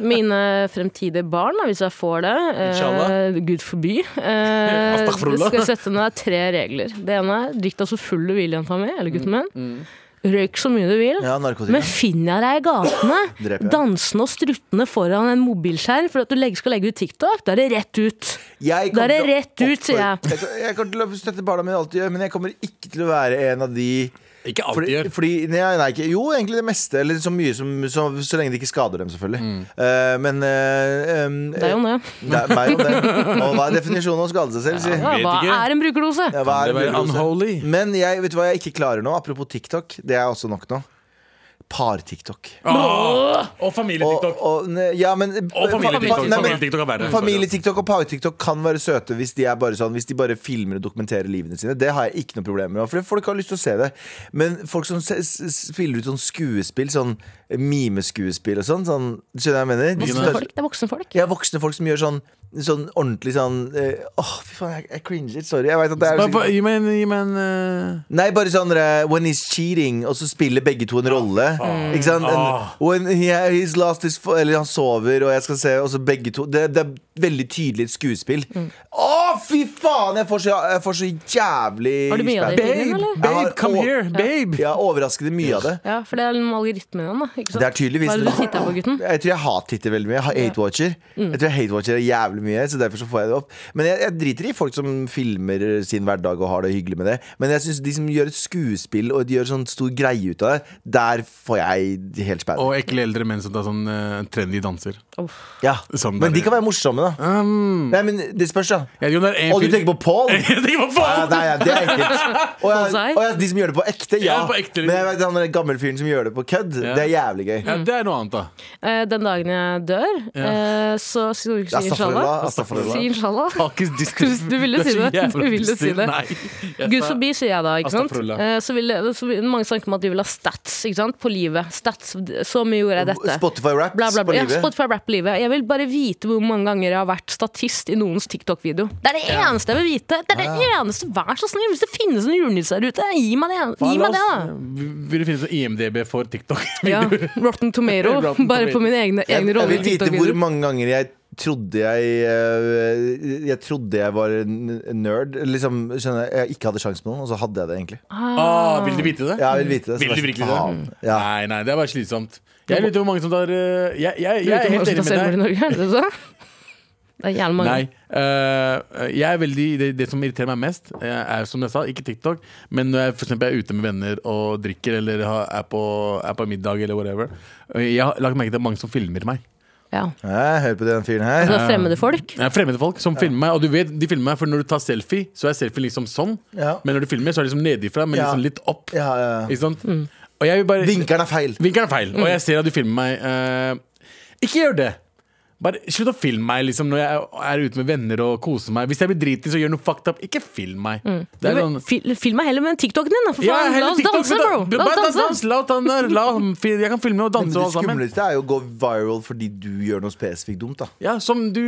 [SPEAKER 3] Mine fremtidige barn, da, hvis jeg får det,
[SPEAKER 2] Inshallah.
[SPEAKER 3] eh, gud forby, eh,
[SPEAKER 2] Astaghfirullah.
[SPEAKER 3] skal jeg sette ned tre regler. Det ene er drikk deg så full du vil, jenta mi, eller gutten min.
[SPEAKER 2] Mm,
[SPEAKER 3] Røyk så mye du vil.
[SPEAKER 1] Ja,
[SPEAKER 3] Men
[SPEAKER 1] narkotika.
[SPEAKER 3] finner jeg deg i
[SPEAKER 1] Dreper
[SPEAKER 3] gatene,
[SPEAKER 1] jeg.
[SPEAKER 3] dansende og struttende foran en mobilskjerm for at du legger- skal legge ut TikTok, da er det rett ut.
[SPEAKER 1] Jeg
[SPEAKER 3] Da er
[SPEAKER 1] kommer til
[SPEAKER 3] det
[SPEAKER 1] å
[SPEAKER 3] rett ut, sier jeg.
[SPEAKER 1] oppfordre- Jeg jeg kommer til å støtte barna mine alltid, men jeg kommer ikke til å være en av de
[SPEAKER 2] Ikke alltid
[SPEAKER 1] Fordi,
[SPEAKER 2] gjør.
[SPEAKER 1] fordi nei, nei, ikke, Jo, egentlig det meste. Eller så mye som Så, så lenge det ikke skader dem, selvfølgelig.
[SPEAKER 2] Mm.
[SPEAKER 1] Eh, men eh, em,
[SPEAKER 3] Det er jo det.
[SPEAKER 1] det er meg og det. Og hva er definisjonen av å skade seg selv? Si?
[SPEAKER 3] Ja,
[SPEAKER 2] vet
[SPEAKER 3] hva
[SPEAKER 2] ikke.
[SPEAKER 3] er en brukerdose?
[SPEAKER 1] Ja, hva er
[SPEAKER 2] Det var
[SPEAKER 1] overdose?
[SPEAKER 2] unholy.
[SPEAKER 1] Men jeg, vet du hva jeg ikke klarer nå? Apropos TikTok. Det er også nok nå. Par-TikTok.
[SPEAKER 2] Ah, og
[SPEAKER 1] Og,
[SPEAKER 2] familie-TikTok.
[SPEAKER 1] og, ne- ja, men
[SPEAKER 2] Og familie-Tiktok.
[SPEAKER 1] Nei, men-
[SPEAKER 2] Familie-TikTok er verre.
[SPEAKER 1] Familie-Tiktok og par-Tiktok kan være søte hvis de, er bare sånn, hvis de bare filmer og dokumenterer livene sine. Det har jeg ikke noe problem med. For folk har lyst til å se det. Men folk som se, s- spiller ut sånn skuespill, sånn mimeskuespill og sånn, sånn Skjønner du hva jeg mener? De som
[SPEAKER 3] Voksne
[SPEAKER 1] tar-
[SPEAKER 3] folk. Det er voksne folk.
[SPEAKER 1] ja, voksne folk som gjør sånn, sånn ordentlig sånn eh, Åh, fy faen, jeg, jeg cringer litt. Sorry. Jeg vet at det er
[SPEAKER 2] Bare- bare- Gi meg en, gi meg en eh,
[SPEAKER 1] Nei, bare sånn eh, When he's cheating Og så spiller begge to en rolle Ikke sant? En,
[SPEAKER 2] Ah.
[SPEAKER 1] when he, he's lost his fo- Eller han sover Og jeg skal se Og så begge to Det, det er veldig tydelig et skuespill
[SPEAKER 3] Mm.
[SPEAKER 1] Å, fy faen Jeg får så, jeg får så jævlig
[SPEAKER 3] Har du mye av det i
[SPEAKER 1] spenn.
[SPEAKER 3] filmen, eller?
[SPEAKER 1] Jeg har
[SPEAKER 2] Babe, come
[SPEAKER 1] å-
[SPEAKER 2] here! Babe!
[SPEAKER 1] Ja, overraskende mye av det
[SPEAKER 3] Ja, for det er den algoritmen igjen, da. Ikke sant?
[SPEAKER 1] Det er tydeligvis
[SPEAKER 3] Hva er det du titter på, gutten?
[SPEAKER 1] Jeg tror jeg hat-titter veldig mye. Jeg har hate-watcher.
[SPEAKER 3] Mm.
[SPEAKER 1] Jeg tror jeg hate-watcher er jævlig mye, så derfor så får jeg det opp. Men jeg, jeg driter i folk som filmer sin hverdag og har det hyggelig med det. Men jeg synes de som gjør et skuespill og de gjør sånn stor greie ut av det, der får jeg helt spenn.
[SPEAKER 2] Og ekle eldre menn som tar sånn eh, trendy danser.
[SPEAKER 1] Ja.
[SPEAKER 2] Sånn
[SPEAKER 1] Men
[SPEAKER 2] der.
[SPEAKER 1] de kan være morsomme, da.
[SPEAKER 2] Um,
[SPEAKER 1] Nei, men Det spørs, da.
[SPEAKER 2] jeg, det er en
[SPEAKER 1] Å, du
[SPEAKER 2] fyr-
[SPEAKER 1] tenker på Paul?
[SPEAKER 2] Jeg tenker på
[SPEAKER 1] Ja,
[SPEAKER 2] faen!
[SPEAKER 1] nei, ja, det er ekkelt. Og, ja,
[SPEAKER 3] Bonsai?
[SPEAKER 1] og ja, de som gjør det på ekte, ja.
[SPEAKER 2] Ja, på ekte, liksom.
[SPEAKER 1] Men jeg vet, han der gamle fyren som gjør det på kødd,
[SPEAKER 2] Ja.
[SPEAKER 1] det er jævlig gøy.
[SPEAKER 2] Ja, det er noe annet, da.
[SPEAKER 3] Eh, Den dagen jeg dør, eh, så skal du ikke si
[SPEAKER 1] Astafrullah,
[SPEAKER 3] inshallah.
[SPEAKER 1] astafrullah.
[SPEAKER 3] Si inshallah.
[SPEAKER 2] Faktisk diskriminerende.
[SPEAKER 3] Du ville
[SPEAKER 2] er
[SPEAKER 3] si
[SPEAKER 2] så
[SPEAKER 3] det. Du
[SPEAKER 2] jævla
[SPEAKER 3] ville si det.
[SPEAKER 2] Nei. Jeg
[SPEAKER 3] Gud
[SPEAKER 2] sa-
[SPEAKER 3] forbi, sier jeg da. ikke sant?
[SPEAKER 2] Astafrullah.
[SPEAKER 3] Eh, Så vil, så vil mange snakke om at de vil ha stats ikke sant? på livet. Stats, Så mye gjorde jeg dette.
[SPEAKER 1] Spotify-raps
[SPEAKER 3] Bla, bla,
[SPEAKER 1] på
[SPEAKER 3] bla. Ja,
[SPEAKER 1] livet.
[SPEAKER 3] Spotify Rap-livet. Jeg vil bare vite hvor mange ganger jeg har vært statist i noens TikTok-video. Det er det eneste jeg vil vite! Det er
[SPEAKER 2] Ah,
[SPEAKER 3] det eneste, Vær så snill! Hvis det finnes en julenisse der ute, gi meg det, gi meg det da!
[SPEAKER 2] altså? Vil du finne sånn IMDb for TikTok?
[SPEAKER 3] Ja, Rotten Tomato,
[SPEAKER 2] Rotten
[SPEAKER 3] bare på
[SPEAKER 2] Tomato.
[SPEAKER 3] mine egne, egne
[SPEAKER 1] Jeg
[SPEAKER 3] roller
[SPEAKER 1] vil
[SPEAKER 3] i
[SPEAKER 1] vite hvor
[SPEAKER 3] TikTok-videoer.
[SPEAKER 1] mange ganger jeg trodde jeg eh, Jeg trodde jeg var en en nerd. Liksom, skjønner jeg, jeg ikke hadde sjans på noen, og så hadde jeg det egentlig.
[SPEAKER 2] Ah, vil du vite det?
[SPEAKER 1] Ja, jeg vil vite det. så
[SPEAKER 2] Vil du
[SPEAKER 1] bare,
[SPEAKER 2] virkelig
[SPEAKER 1] faen.
[SPEAKER 2] det? Mm.
[SPEAKER 1] Ja.
[SPEAKER 2] Nei, nei, det er bare slitsomt. Jeg lurer på hvor mange som tar eh, Jeg, jeg, jeg er
[SPEAKER 3] Lurer på
[SPEAKER 2] helt enig
[SPEAKER 3] hvordan
[SPEAKER 2] med deg.
[SPEAKER 3] det er selvmord i Norge, er det det du sa? Det er jævlig mange.
[SPEAKER 2] Nei. eh, jeg er veldig, det, det som irriterer meg mest, eh, er som jeg sa, ikke TikTok, men når jeg for eksempel, er ute med venner og drikker eller har, er, på, er på middag eller whatever. eh, Jeg har lagt merke til at mange som filmer meg.
[SPEAKER 3] Ja. Altså,
[SPEAKER 1] Ja, hør på den fyren her.
[SPEAKER 3] Det er fremmede folk.
[SPEAKER 2] Eh, Det er fremmede folk som filmer meg, og du vet, de filmer meg, for når du tar selfie, så er selfie liksom sånn.
[SPEAKER 1] Ja.
[SPEAKER 2] Men når du filmer, så er det liksom nedifra, men
[SPEAKER 1] Ja.
[SPEAKER 2] liksom litt opp.
[SPEAKER 1] Ja, ja, ja.
[SPEAKER 2] Ikke sant? Og jeg vil bare
[SPEAKER 1] Vinkelen er feil.
[SPEAKER 2] Vinkelen er feil, og
[SPEAKER 3] Mm.
[SPEAKER 2] jeg ser at du filmer meg. eh, ikke gjør det! Bare Slutt å filme meg liksom, når jeg er ute med venner og koser meg. Hvis jeg blir dritings og gjør noe fucked up, ikke film meg.
[SPEAKER 3] Mm.
[SPEAKER 2] Det er sånn
[SPEAKER 3] Fil- Film meg heller med TikToken din, da, for
[SPEAKER 2] Ja,
[SPEAKER 3] faen!
[SPEAKER 2] heller
[SPEAKER 3] La oss
[SPEAKER 2] TikTok,
[SPEAKER 3] danse,
[SPEAKER 2] for da-
[SPEAKER 3] bro! La
[SPEAKER 2] bare
[SPEAKER 3] oss
[SPEAKER 2] dans,
[SPEAKER 3] danse!
[SPEAKER 2] la oss danse, la ham fi- Jeg kan filme og
[SPEAKER 1] Men
[SPEAKER 2] danse
[SPEAKER 1] det
[SPEAKER 2] og alt sammen.
[SPEAKER 1] skumleste er jo å gå viral fordi du gjør noe spesifikt dumt. da
[SPEAKER 2] Ja, som du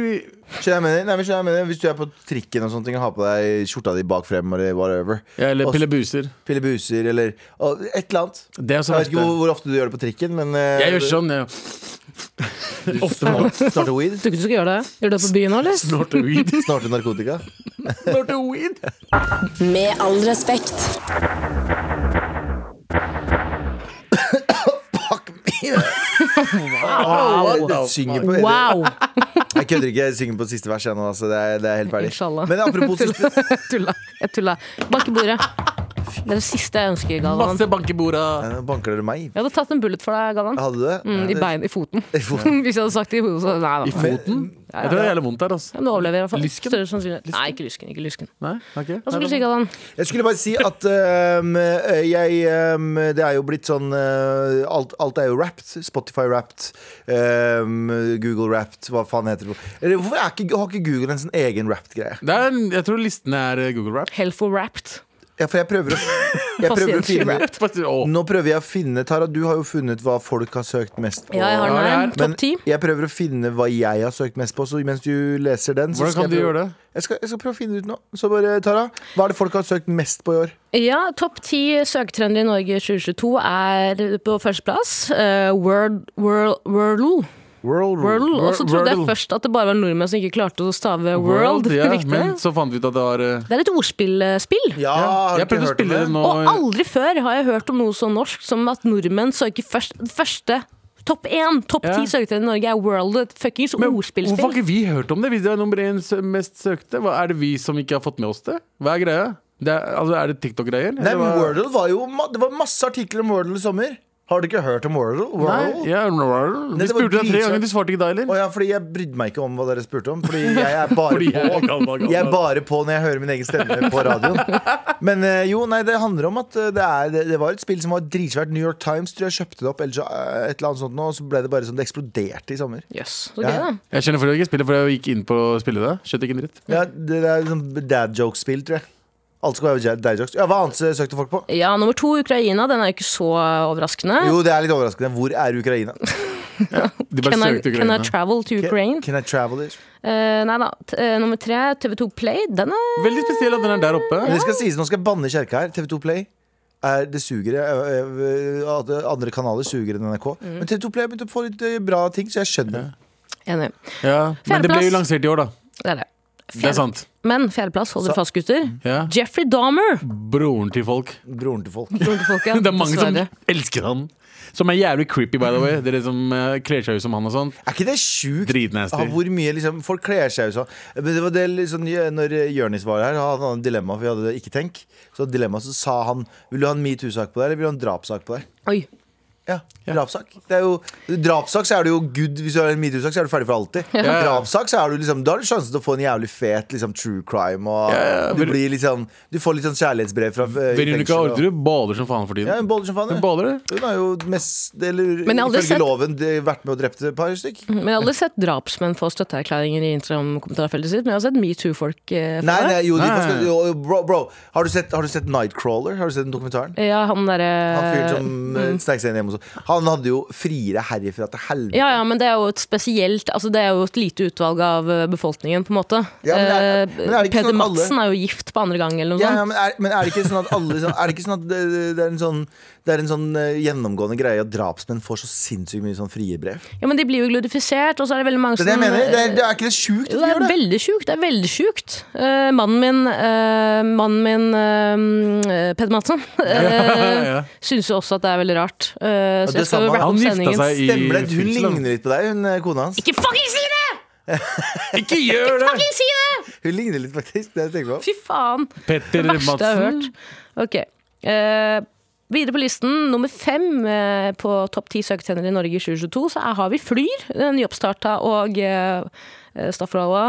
[SPEAKER 1] Skjønner jeg mener? Nei, men skjønner jeg mener? Hvis du er på trikken og sånne ting og har på deg skjorta di bak frem, eller whatever.
[SPEAKER 2] ja, Eller
[SPEAKER 1] Og-
[SPEAKER 2] pillebuser.
[SPEAKER 1] Pillebuser eller og et eller annet.
[SPEAKER 2] Det er
[SPEAKER 1] Jeg
[SPEAKER 2] så
[SPEAKER 1] vet
[SPEAKER 2] verst.
[SPEAKER 1] ikke hvor, hvor ofte du gjør det på trikken, men eh,
[SPEAKER 2] Jeg gjør sånn, jeg. Ofte
[SPEAKER 1] snort- Snorter weed?
[SPEAKER 3] Tror ikke du skal gjøre det? Gjør du det på byen nå, eller?
[SPEAKER 2] snorter weed.
[SPEAKER 1] Snorter narkotika?
[SPEAKER 2] Snorter weed.
[SPEAKER 4] Med all respekt.
[SPEAKER 1] Fuck me! Jeg, jeg synger på
[SPEAKER 3] Wow!
[SPEAKER 1] Jeg kødder ikke, jeg synger på siste vers jeg nå, altså. det, er, det er helt ferdig.
[SPEAKER 3] Inshallah.
[SPEAKER 1] Men apropos siste
[SPEAKER 3] Tulla. Jeg tulla. Bak i bordet. Det er det siste jeg ønsker, Galvan.
[SPEAKER 2] Masse bank i borda.
[SPEAKER 1] Nå Banker dere meg?
[SPEAKER 3] Jeg hadde tatt en bullet for deg, Galvan.
[SPEAKER 1] Hadde du det?
[SPEAKER 3] Mm, I bein, i foten.
[SPEAKER 1] I foten.
[SPEAKER 3] Hvis jeg hadde sagt det i hodet, så nei da.
[SPEAKER 2] I foten? Jeg tror det er jævlig vondt her, altså.
[SPEAKER 3] Men Du overlever i hvert fall.
[SPEAKER 2] Lysken?
[SPEAKER 3] Større sannsynlighet. Nei, ikke lysken. ikke lysken
[SPEAKER 2] Nei, ok.
[SPEAKER 3] Hva skulle du si, Galvan?
[SPEAKER 1] Jeg skulle bare si at øhm, øh, jeg øhm, Det er jo blitt sånn øh, alt, alt er jo rapped. Spotify-rapped. Google-rapped. Hva faen heter det? Eller, hvorfor er ikke, har ikke Google en sånn egen rapped-greie?
[SPEAKER 2] Det er en, jeg tror listen er eh, Google Rap.
[SPEAKER 3] Helfo wrapped.
[SPEAKER 1] Ja, for jeg prøver å, jeg prøver å
[SPEAKER 3] Pasient
[SPEAKER 1] finne
[SPEAKER 3] Wrapped.
[SPEAKER 2] Faktisk, å.
[SPEAKER 1] Nå prøver jeg å finne, Tara, du har jo funnet hva folk har søkt mest på.
[SPEAKER 3] Ja, jeg har den
[SPEAKER 2] Ja,
[SPEAKER 3] her.
[SPEAKER 2] det er-
[SPEAKER 1] Men
[SPEAKER 3] Topp ti.
[SPEAKER 1] jeg prøver å finne hva jeg har søkt mest på. Så mens du leser den så
[SPEAKER 2] Hvordan
[SPEAKER 1] skal jeg
[SPEAKER 2] kan du
[SPEAKER 1] prøve-
[SPEAKER 2] gjøre det?
[SPEAKER 1] Jeg skal, jeg skal prøve å finne det ut nå. Så bare, Tara, hva er det folk har søkt mest på i år?
[SPEAKER 3] Ja, topp ti søketrender i Norge 2022 er på førsteplass. Uh, Word, world, Wordle.
[SPEAKER 1] World
[SPEAKER 3] Wordle. Og så trodde jeg
[SPEAKER 2] Wordle.
[SPEAKER 3] først at det bare var nordmenn som ikke klarte å stave world.
[SPEAKER 2] World, ja,
[SPEAKER 3] Riktig.
[SPEAKER 2] men så fant vi ut at det var eh,
[SPEAKER 3] Det er et ordspillspill.
[SPEAKER 1] Ja, Ah, har
[SPEAKER 2] Jeg
[SPEAKER 1] du ikke
[SPEAKER 2] prøvde å
[SPEAKER 1] hørt om
[SPEAKER 2] spille det
[SPEAKER 1] det?
[SPEAKER 2] nå. eh,
[SPEAKER 3] Og aldri før har jeg hørt om noe så norsk som at nordmenn søker først, første Topp én, topp
[SPEAKER 2] Ja.
[SPEAKER 3] ti søketrender i Norge er World. Et fuckings
[SPEAKER 2] Hvorfor har
[SPEAKER 3] ordspillspill.
[SPEAKER 2] ikke vi hørt om det? Hvis det er nummer én s- mest søkte, hva er det vi som ikke har fått med oss det? Hva er greia? Det er, altså, er det TikTok-greier?
[SPEAKER 1] Nei,
[SPEAKER 2] Eller
[SPEAKER 1] men
[SPEAKER 2] hva-
[SPEAKER 1] Wordle var jo ma- Det var masse artikler om Wordle i sommer. Har du ikke hørt om Wordle? Wordle?
[SPEAKER 2] Nei, ja, Wordle.
[SPEAKER 1] Nei,
[SPEAKER 2] Vi
[SPEAKER 1] det var
[SPEAKER 2] spurte deg tre
[SPEAKER 1] dritsøkt.
[SPEAKER 2] ganger, du svarte ikke da heller.
[SPEAKER 1] Å ja, fordi jeg brydde meg ikke om hva dere spurte om. Fordi jeg er bare
[SPEAKER 2] Fordi jeg
[SPEAKER 1] på.
[SPEAKER 2] er gammel, gammel.
[SPEAKER 1] Jeg er bare på når jeg hører min egen stemme på radioen. Men eh, jo, nei, det handler om at eh, det, er, det, det var et spill som var dritsvært. New York Times tror jeg kjøpte det opp, eller så, eh, et eller annet sånt nå, og så ble det bare sånn Det eksploderte i sommer.
[SPEAKER 3] Jøss, så gøy,
[SPEAKER 1] Ja.
[SPEAKER 3] da.
[SPEAKER 2] Jeg skjønner hvorfor jeg ikke spiller, for jeg gikk inn på å spille det. Skjønte ikke en dritt.
[SPEAKER 1] Ja, det, det er sånn dad joke-spill, tror jeg. Alt skal være dad jokes. Ja, Hva annet eh, søkte folk på?
[SPEAKER 3] Ja, nummer to, Ukraina. Den er jo ikke så overraskende.
[SPEAKER 1] Jo, det er litt overraskende. Hvor er Ukraina?
[SPEAKER 2] De bare
[SPEAKER 3] Can I,
[SPEAKER 2] søkte
[SPEAKER 3] can I
[SPEAKER 2] Ukraina.
[SPEAKER 3] travel to Ukraine?
[SPEAKER 1] Can I travel it?
[SPEAKER 3] Eh, nei da. T eh, nummer tre, TV2 Play. Den er
[SPEAKER 2] Veldig spesiell at den er der oppe.
[SPEAKER 1] Men det skal sies, nå skal jeg banne i kjerka her. TV2 Play er det suger. eh, eh, eh, Andre kanaler suger enn NRK. Men TV2 Play har begynt å få litt eh, bra ting, så jeg skjønner.
[SPEAKER 3] Enig.
[SPEAKER 2] Ja, men det ble jo
[SPEAKER 3] Fjerdeplass.
[SPEAKER 2] lansert i år, da.
[SPEAKER 3] Det er det.
[SPEAKER 2] Det er sant. Mm.
[SPEAKER 3] Men fjerdeplass, hold dere fast, gutter.
[SPEAKER 2] Ja.
[SPEAKER 3] Jeffrey Dahmer.
[SPEAKER 2] Broren til folk.
[SPEAKER 1] Broren til folk.
[SPEAKER 3] Broren til folket,
[SPEAKER 2] Det er mange som
[SPEAKER 3] dessverre.
[SPEAKER 2] elsker han. Som er jævlig creepy, by the way. Dere som eh, kler seg ut som han og sånt.
[SPEAKER 1] Er ikke det sjukt?
[SPEAKER 2] Dritnasty.
[SPEAKER 1] Ah, hvor mye liksom, Folk kler seg jo sånn. Men det var det liksom, når Jonis var her, han hadde et dilemma, for vi hadde det ikke tenk. Så dilemma, så sa han Vil du ha en metoo-sak på deg, eller vil du ha en drapssak på deg?
[SPEAKER 3] Oi.
[SPEAKER 1] Ja, drapssak. Det er jo, drapssak så er du jo good Hvis du har en metoo-sak, så er du ferdig for alltid.
[SPEAKER 2] Ja.
[SPEAKER 1] Drapssak, så er du liksom Da har du sjansen til å få en jævlig fet liksom, true crime. Og
[SPEAKER 2] Ja, ja,
[SPEAKER 1] du,
[SPEAKER 2] Ver-
[SPEAKER 1] blir litt sånn, du får litt sånn kjærlighetsbrev fra eh, i
[SPEAKER 2] Veronica
[SPEAKER 1] fengsel og-
[SPEAKER 2] Orderud baler som faen for tiden.
[SPEAKER 1] Ja, hun baller som faen.
[SPEAKER 2] Hun
[SPEAKER 1] ja.
[SPEAKER 2] baler det.
[SPEAKER 1] Hun har jo mest, eller
[SPEAKER 3] Men jeg har aldri
[SPEAKER 1] ifølge
[SPEAKER 3] sett-
[SPEAKER 1] loven det- vært med og drept et par stykk.
[SPEAKER 3] Men Jeg har aldri sett drapsmenn få støtteerklæringer i Instagram-kommentarfeltet sitt, men jeg har sett metoo-folk eh, få
[SPEAKER 1] Nei,
[SPEAKER 3] det.
[SPEAKER 1] nei, jo, de
[SPEAKER 2] Nei.
[SPEAKER 1] forstår, jo, jo, bro, bro. Har, du sett, har du sett Nightcrawler? Har du sett den dokumentaren?
[SPEAKER 3] Ja, han
[SPEAKER 1] Han fyren
[SPEAKER 3] derre
[SPEAKER 1] som eh, snek seg inn hjemme og sånn. Han hadde jo friere herifra til helvete.
[SPEAKER 3] mm. ja, ja, men det er jo et spesielt Altså det er jo et lite utvalg av eh, befolkningen, på en måte.
[SPEAKER 1] Ja, men er-
[SPEAKER 3] Eh,
[SPEAKER 1] men er det ikke
[SPEAKER 3] Peder
[SPEAKER 1] sånn alle-
[SPEAKER 3] Madsen er jo gift på andre gang, eller noe
[SPEAKER 1] Ja, ja,
[SPEAKER 3] sånt.
[SPEAKER 1] men, er, men er det ikke sånn at alle sånn, Er det ikke sånn at det, det er en sånn Det er en sånn eh, gjennomgående greie at drapsmenn får så sinnssykt mye sånn frie brev?
[SPEAKER 3] Ja, men de blir jo glorifisert, og så er det veldig mange
[SPEAKER 1] Det
[SPEAKER 3] som eh,
[SPEAKER 1] er det jeg mener. Det er, det er ikke det sjukt
[SPEAKER 3] Jo,
[SPEAKER 1] at
[SPEAKER 3] Sånn, det
[SPEAKER 1] de
[SPEAKER 3] er
[SPEAKER 1] gjør det.
[SPEAKER 3] veldig sjukt. Det er veldig sjukt. Eh, mannen min, eh, mannen min eh, Peder Madsen, uh,
[SPEAKER 2] ja.
[SPEAKER 3] syns jo også at det er veldig rart. Eh,
[SPEAKER 1] det
[SPEAKER 3] så jeg skal
[SPEAKER 1] samme.
[SPEAKER 3] jo rappe
[SPEAKER 2] Han
[SPEAKER 3] opp
[SPEAKER 2] gifta
[SPEAKER 3] sendingen.
[SPEAKER 2] seg i
[SPEAKER 1] Stemmer det? Hun
[SPEAKER 2] fengsel, da.
[SPEAKER 1] ligner litt på deg, hun eh, kona hans.
[SPEAKER 3] Ikke fucking si det!
[SPEAKER 2] Ikke gjør det!
[SPEAKER 3] Ikke si det!
[SPEAKER 1] Hun ligner litt, faktisk. Det jeg tenker på.
[SPEAKER 3] Fy faen.
[SPEAKER 2] Petter
[SPEAKER 3] Det verste jeg har
[SPEAKER 2] Madsen.
[SPEAKER 3] hørt. Ok. Eh, videre på listen, nummer fem eh, på topp ti søketrender i Norge i 2022, så er, har vi Flyr. den Nyoppstarta og uh, Staffelhalla.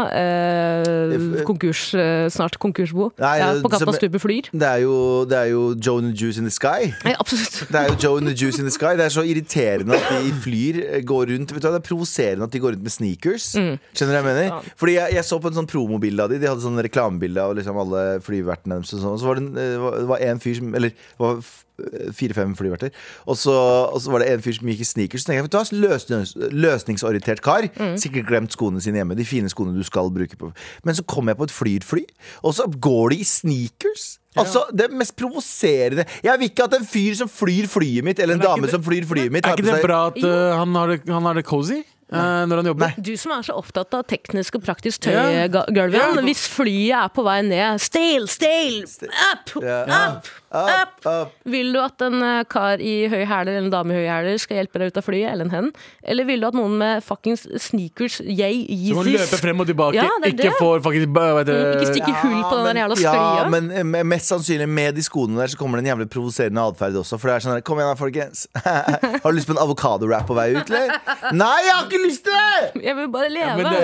[SPEAKER 3] eh, konkurs, eh, snart konkursbo.
[SPEAKER 1] Nei,
[SPEAKER 3] ja, på
[SPEAKER 1] som-
[SPEAKER 3] Kappastupet Flyr.
[SPEAKER 1] Det er jo, det er jo Joe and the Juice in the Sky.
[SPEAKER 3] Nei, absolutt.
[SPEAKER 1] Det er jo Joe and the Juice in the Sky. Det er så irriterende at de flyr, eh, går rundt Vet du hva, Det er provoserende at de går rundt med sneakers.
[SPEAKER 3] Mm.
[SPEAKER 1] Skjønner du hva jeg mener? Fordi jeg, jeg så på en sånn promobilde av de. De hadde sånn reklamebilde av liksom alle flyvertene deres. Og sånn. Og så var det en, eh, var- det var en fyr som Eller det var f- eh, fire-fem flyverter. Og så, og så var det en fyr som gikk i sneakers. Så tenkte jeg, vet du hva, løsnings, løsningsorientert kar.
[SPEAKER 2] Mm.
[SPEAKER 1] Sikkert glemt skoene sine hjemme. De fine skoene du skal bruke på. Men så kom jeg på et flyrfly, og så går de i sneakers. Altså, Det mest provoserende Jeg vil ikke at en fyr som flyr flyet mitt, eller en dame som flyr flyet mitt
[SPEAKER 2] Er
[SPEAKER 1] har på
[SPEAKER 2] ikke det
[SPEAKER 1] seg-
[SPEAKER 2] bra at eh, han, har det, han har det cozy eh, når han jobber?
[SPEAKER 3] Du som er så opptatt av teknisk og praktisk tøy,
[SPEAKER 2] Ja.
[SPEAKER 3] Ga- Galvan.
[SPEAKER 2] Ja.
[SPEAKER 3] Hvis flyet er på vei ned Stale, stale! Up! Up! Up! Vil du at en eh, kar i høye hæler eller en dame i høye hæler skal hjelpe deg ut av flyet, eller en hen? Eller vil du at noen med fuckings sneakers, yay,
[SPEAKER 2] Du må løpe
[SPEAKER 3] Yeezys
[SPEAKER 2] frem og tilbake.
[SPEAKER 3] Ja, det er
[SPEAKER 2] ikke
[SPEAKER 3] det.
[SPEAKER 2] får faktisk ba- vet du,
[SPEAKER 3] Ikke stikke hull på den der
[SPEAKER 1] men-
[SPEAKER 3] jævla
[SPEAKER 1] ja,
[SPEAKER 3] sklia?
[SPEAKER 1] men eh, mest sannsynlig med de skoene der Så kommer det en jævlig provoserende adferd også For det er sånn der, kom igjen da folkens Har du lyst på en avokado-wrap på vei ut, eller? Nei, jeg har ikke lyst til det!
[SPEAKER 3] Jeg vil bare leve!
[SPEAKER 2] Men det,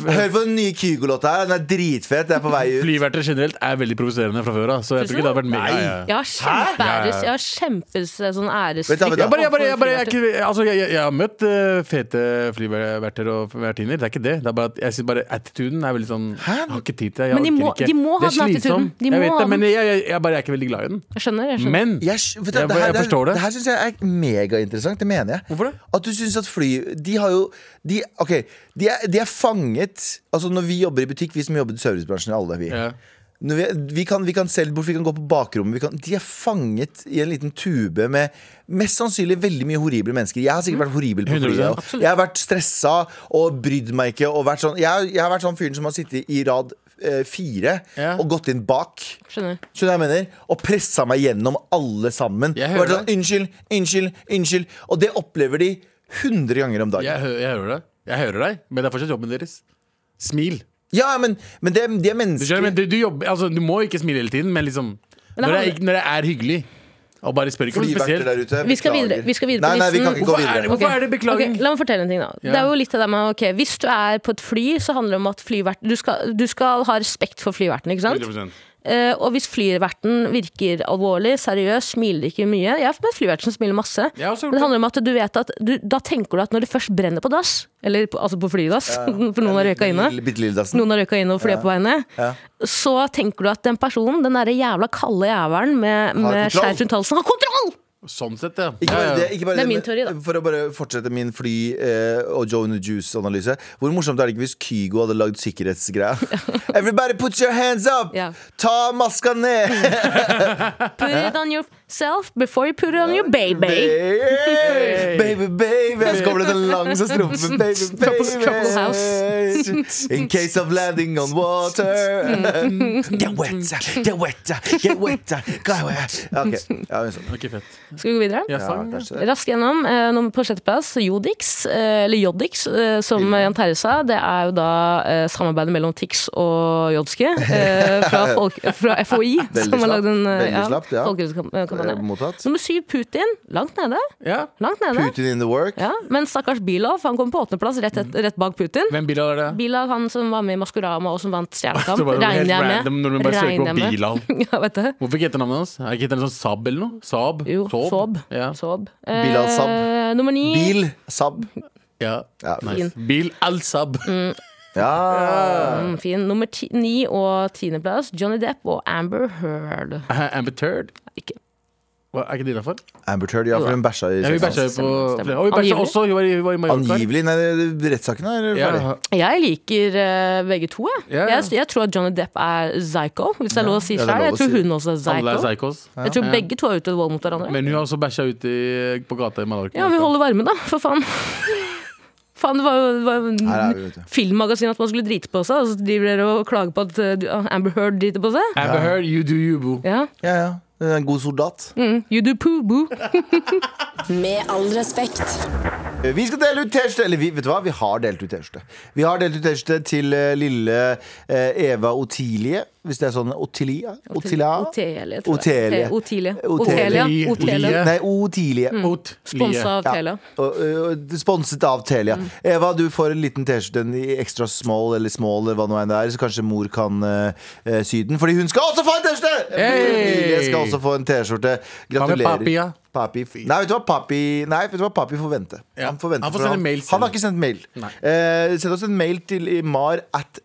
[SPEAKER 1] Hør
[SPEAKER 2] jeg,
[SPEAKER 1] på den nye Kygo-låta her, den er dritfett, det er på vei ut
[SPEAKER 2] flyverter generelt er veldig provoserende fra før av, så jeg tror ikke det hadde vært mega
[SPEAKER 1] Nei,
[SPEAKER 2] ja, ja.
[SPEAKER 3] Jeg har kjempeæres Jeg har kjempes sånn
[SPEAKER 1] Vent da, vent
[SPEAKER 3] æresfrykt.
[SPEAKER 1] da.
[SPEAKER 2] Jeg, bare, jeg, bare, jeg, bare, jeg, er ikke- altså, jeg, jeg, jeg har møtt eh, fete flyverter og vertinner. Det er ikke det. det er bare, at- jeg synes bare Attituden er veldig sånn Jeg har ikke tid til det. Jeg
[SPEAKER 3] Men de
[SPEAKER 2] orker
[SPEAKER 3] må-
[SPEAKER 2] ikke.
[SPEAKER 3] de må
[SPEAKER 2] Det er
[SPEAKER 3] ha den
[SPEAKER 2] slitsom.
[SPEAKER 3] attituden. De
[SPEAKER 2] jeg
[SPEAKER 3] må
[SPEAKER 2] vet
[SPEAKER 3] ha
[SPEAKER 2] det, men
[SPEAKER 3] den.
[SPEAKER 2] jeg, jeg, jeg bare er ikke veldig glad i den.
[SPEAKER 3] Jeg skjønner. jeg skjønner
[SPEAKER 2] Men
[SPEAKER 1] Jeg, vet du,
[SPEAKER 2] Mm. Jeg-
[SPEAKER 1] det her,
[SPEAKER 2] jeg
[SPEAKER 1] det her-
[SPEAKER 2] forstår det.
[SPEAKER 1] Det her syns jeg er megainteressant. Det mener jeg.
[SPEAKER 2] Hvorfor det?
[SPEAKER 1] At du syns at fly De har jo de, Ok, de er, de er fanget Altså Når vi jobber i butikk, vi som jobber i servicebransjen, alle vi.
[SPEAKER 2] Ja.
[SPEAKER 1] Når vi, vi, kan, vi kan selge bort, vi kan gå på bakrommet. Vi kan, de er fanget i en liten tube med mest sannsynlig veldig mye horrible mennesker. Jeg har sikkert vært horribel på
[SPEAKER 2] 100%,
[SPEAKER 1] flyet. og Jeg har vært stressa og brydd meg ikke. Og vært sånn, jeg, jeg har vært sånn fyren som har sittet i rad eh, fire
[SPEAKER 2] Ja.
[SPEAKER 1] og gått inn bak.
[SPEAKER 3] Skjønner.
[SPEAKER 1] Skjønner du hva jeg mener? Og pressa meg gjennom alle sammen.
[SPEAKER 2] Jeg
[SPEAKER 1] Og vært
[SPEAKER 2] hører
[SPEAKER 1] sånn, unnskyld, unnskyld, unnskyld. Og det opplever de 100 ganger om dagen.
[SPEAKER 2] Jeg, hø jeg hører deg. Jeg hører deg, men det er fortsatt jobben deres. Smil.
[SPEAKER 1] Ja, men, men det, de er
[SPEAKER 2] Du, skjønner,
[SPEAKER 1] mennesker.
[SPEAKER 2] men du, du, jobber, altså, du må ikke smile hele tiden, men liksom når, det
[SPEAKER 3] det
[SPEAKER 2] er,
[SPEAKER 3] handler-
[SPEAKER 2] ikke- når det er hyggelig, og bare spør ikke om noe
[SPEAKER 1] Flyverter
[SPEAKER 2] spesielt
[SPEAKER 1] der ute.
[SPEAKER 3] Vi skal
[SPEAKER 1] beklager.
[SPEAKER 3] videre- vi skal videre på
[SPEAKER 1] Nei, nei, vi kan
[SPEAKER 3] listen.
[SPEAKER 1] ikke gå
[SPEAKER 2] Hvorfor er det-
[SPEAKER 1] videre.
[SPEAKER 2] hvorfor er det beklaging?
[SPEAKER 3] Ok, la meg fortelle en ting, da.
[SPEAKER 2] Ja.
[SPEAKER 3] Det er jo litt av det med ok, Hvis du er på et fly, så handler det om at flyvert, du, skal, du skal ha respekt for flyverten, ikke sant?
[SPEAKER 2] 100%.
[SPEAKER 3] Eh, og hvis flyverten virker alvorlig, seriøs, smiler ikke mye Jeg har møtt flyverten som smiler masse.
[SPEAKER 2] Jeg har også gjort
[SPEAKER 3] Men det handler om at du vet at du, da tenker du at når det først brenner på dass, eller på, altså på flydass, for noen har røyka inne
[SPEAKER 1] Lille- bitte lille dassen.
[SPEAKER 3] noen har røyka inn og flyet på vei ned,
[SPEAKER 1] Ja.
[SPEAKER 3] så tenker du at den personen, den derre jævla kalde jævelen med, med
[SPEAKER 1] kontroll.
[SPEAKER 3] skjevt rundt halsen, har kontroll!
[SPEAKER 2] Sånn sett, ja.
[SPEAKER 1] Ikke
[SPEAKER 2] Ja,
[SPEAKER 1] bare
[SPEAKER 2] ja.
[SPEAKER 1] det, ikke bare
[SPEAKER 3] Det er
[SPEAKER 1] men
[SPEAKER 3] min teori, da.
[SPEAKER 1] For å bare fortsette min fly eh, og Joe and the Juice-analyse. Hvor morsomt er det ikke hvis Kygo hadde lagd sikkerhetsgreia? Everybody put your hands up!
[SPEAKER 3] Ja.
[SPEAKER 1] Ta maska ned!
[SPEAKER 3] Put it on yourself before you put it on your baby.
[SPEAKER 1] Baby, baby, baby. Så kommer det en lang sånn strofe. Baby,
[SPEAKER 3] Trouble
[SPEAKER 1] baby. In case of landing on water. Get wet, get wet, get wet. Go away. Ok, ja, men sånn.
[SPEAKER 2] Ok, fett.
[SPEAKER 3] Skal vi gå videre?
[SPEAKER 2] Jeg
[SPEAKER 1] ja,
[SPEAKER 2] sang, Sånn, ja.
[SPEAKER 1] kanskje det.
[SPEAKER 3] Raskt gjennom. eh, nummer på sjetteplass, Jodix, eh, eller Jodix, eh, som
[SPEAKER 1] Mm.
[SPEAKER 3] Jan Terje sa. Det er jo da eh, samarbeidet mellom Tix og Jodski eh, fra, folk, fra FHI.
[SPEAKER 1] Veldig
[SPEAKER 3] som har lagd en
[SPEAKER 1] slapt,
[SPEAKER 3] eh,
[SPEAKER 1] veldig slapt, ja.
[SPEAKER 3] folkehelsekampanje.
[SPEAKER 1] Eh, mottatt.
[SPEAKER 3] Nummer syv, Putin. Langt nede.
[SPEAKER 2] ja.
[SPEAKER 3] Langt nede.
[SPEAKER 1] Putin in the work.
[SPEAKER 3] Ja, men stakkars Bilov, han kom på åttendeplass, rett, et- rett bak Putin.
[SPEAKER 2] Hvem bil er det?
[SPEAKER 3] Bilal, han som var med i Maskorama og som vant
[SPEAKER 2] Jeg
[SPEAKER 3] Stjernekamp,
[SPEAKER 2] tror bare det var
[SPEAKER 3] regner
[SPEAKER 2] helt
[SPEAKER 3] jeg med.
[SPEAKER 2] random Når du bare søker
[SPEAKER 3] Regner
[SPEAKER 2] på
[SPEAKER 3] jeg med.
[SPEAKER 2] Bilal.
[SPEAKER 3] Ja, vet du.
[SPEAKER 2] Hvorfor ikke etternavnet hans? Er ikke etternavnet sånn Saab eller noe? Saab?
[SPEAKER 3] Jo, Saab.
[SPEAKER 2] Ja.
[SPEAKER 3] Saab.
[SPEAKER 1] Bilal Saab.
[SPEAKER 3] Eh, nummer ni.
[SPEAKER 1] Bil, sab.
[SPEAKER 2] ja.
[SPEAKER 1] Ja.
[SPEAKER 2] Nice. Bil Al Saab.
[SPEAKER 1] Ja.
[SPEAKER 3] Mm, fin. Nummer ti, ni og tiendeplass, Johnny Depp og Amber Heard.
[SPEAKER 2] Amber Turd.
[SPEAKER 3] Ikke.
[SPEAKER 2] Hva, er ikke det innafor?
[SPEAKER 1] Amber Turd, ja, for hun bæsja i
[SPEAKER 2] Ja, vi
[SPEAKER 1] sex.
[SPEAKER 2] bæsja jo på
[SPEAKER 3] Stemmer, stemmer.
[SPEAKER 2] flere. Og vi bæsja
[SPEAKER 3] Angivelig.
[SPEAKER 2] også. Hun var i, var i Mallorca.
[SPEAKER 1] Angivelig. Nei, det- det- rettssaken er ferdig.
[SPEAKER 2] Ja,
[SPEAKER 3] Jeg liker eh, begge to, jeg.
[SPEAKER 2] Ja, ja.
[SPEAKER 3] jeg. Jeg tror at Johnny Depp er psycho, hvis det er lov å si
[SPEAKER 1] Ja, det er lov
[SPEAKER 3] selv.
[SPEAKER 1] å
[SPEAKER 3] Jeg tror
[SPEAKER 1] si.
[SPEAKER 3] hun også er
[SPEAKER 2] alle er
[SPEAKER 3] psycho.
[SPEAKER 2] psychos.
[SPEAKER 3] Jeg tror begge to er ute og vold mot hverandre.
[SPEAKER 2] Men hun har også bæsja ute i, på gata i Mallorca.
[SPEAKER 3] Ja, vi holder varme, da, for faen. faen, det var jo- det var jo
[SPEAKER 1] Her er
[SPEAKER 3] en
[SPEAKER 1] vi, vet du.
[SPEAKER 3] filmmagasin at man skulle drite på seg, og så driver dere og klager på at eh, du- ah, Amber Heard driter på seg.
[SPEAKER 2] Amber Heard, you do you, boo.
[SPEAKER 3] Ja.
[SPEAKER 1] Ja, ja. Hun er En god soldat.
[SPEAKER 3] You do poo boo.
[SPEAKER 4] Med all respekt.
[SPEAKER 1] Vi skal dele ut T-skjorte. Eller vi, vet du hva? Vi har delt ut T-skjorte. Vi har delt ut T-skjorte til eh, lille eh, Eva Otilie. Hvis det er sånn Otilia? Otilia?
[SPEAKER 3] Otelia. tror
[SPEAKER 1] Otelia.
[SPEAKER 3] jeg. Otelia.
[SPEAKER 1] Otelia.
[SPEAKER 3] Otelia. Otelia.
[SPEAKER 1] Nei, Otilie.
[SPEAKER 2] Mot Lie.
[SPEAKER 3] Sponsa av Telia. Mm.
[SPEAKER 1] Og, og, og sponset av Telia. Eva, du får en liten T-skjorte en i extra small eller small, eller hva nå enn det er, så kanskje mor kan eh, eh, sy den. Fordi hun skal også få en T-skjorte!
[SPEAKER 2] Hey!
[SPEAKER 1] Jeg skal også få en T-skjorte. Gratulerer.
[SPEAKER 2] papi, ja?
[SPEAKER 1] Papi. Nei, vet du hva papi Nei, vet du hva papi får vente.
[SPEAKER 2] Ja.
[SPEAKER 1] Han får vente.
[SPEAKER 2] Han får
[SPEAKER 1] for
[SPEAKER 2] sende mail selv.
[SPEAKER 1] han har ikke sendt mail. Eh, send oss en mail til mar at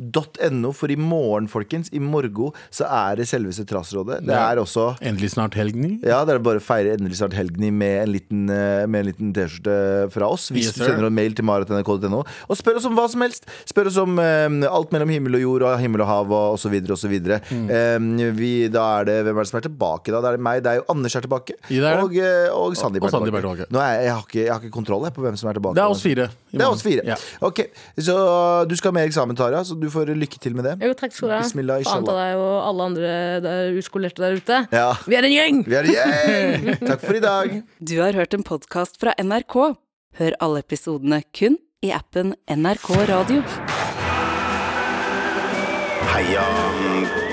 [SPEAKER 1] nrk.no, for i morgen, folkens, i morgen så er det selveste Trassrådet. Det
[SPEAKER 2] Ja.
[SPEAKER 1] er også
[SPEAKER 2] Endelig snart helgen. i.
[SPEAKER 1] ja, det er bare å feire endelig snart helgen i med en liten, eh, med en liten T-skjorte fra oss. Hvis
[SPEAKER 2] Yes,
[SPEAKER 1] du
[SPEAKER 2] sir.
[SPEAKER 1] sender en mail til maratnrk.no. Og spør oss om hva som helst. Spør oss om eh, alt mellom himmel og jord og himmel og hav og osv. osv. Mm. vi, da er det Hvem er det som er tilbake, da? Det er meg, det er jo Anders er tilbake.
[SPEAKER 2] Ja, det er det.
[SPEAKER 1] Og, eh, og Sandeep
[SPEAKER 2] Og-
[SPEAKER 1] er
[SPEAKER 2] og Sandeep er
[SPEAKER 1] tilbake.
[SPEAKER 2] tilbake.
[SPEAKER 1] Nå er jeg, jeg, har ikke, jeg har ikke kontroll jeg, på hvem som er tilbake.
[SPEAKER 2] Det er oss fire. i
[SPEAKER 1] Det er
[SPEAKER 2] morgen.
[SPEAKER 1] oss fire.
[SPEAKER 2] Ja.
[SPEAKER 1] Ok, Så du skal ha med eksamen, Tara, så du får lykke til med det.
[SPEAKER 3] Jo, takk skal du ha.
[SPEAKER 1] Bismillah,
[SPEAKER 3] Faen ta deg og alle andre der, uskolerte der ute.
[SPEAKER 1] Ja.
[SPEAKER 3] Vi er en gjeng!
[SPEAKER 1] Vi er gjeng! Takk for i dag.
[SPEAKER 6] Du har hørt en podkast fra NRK. Hør alle episodene kun i appen NRK Radio.
[SPEAKER 7] Heia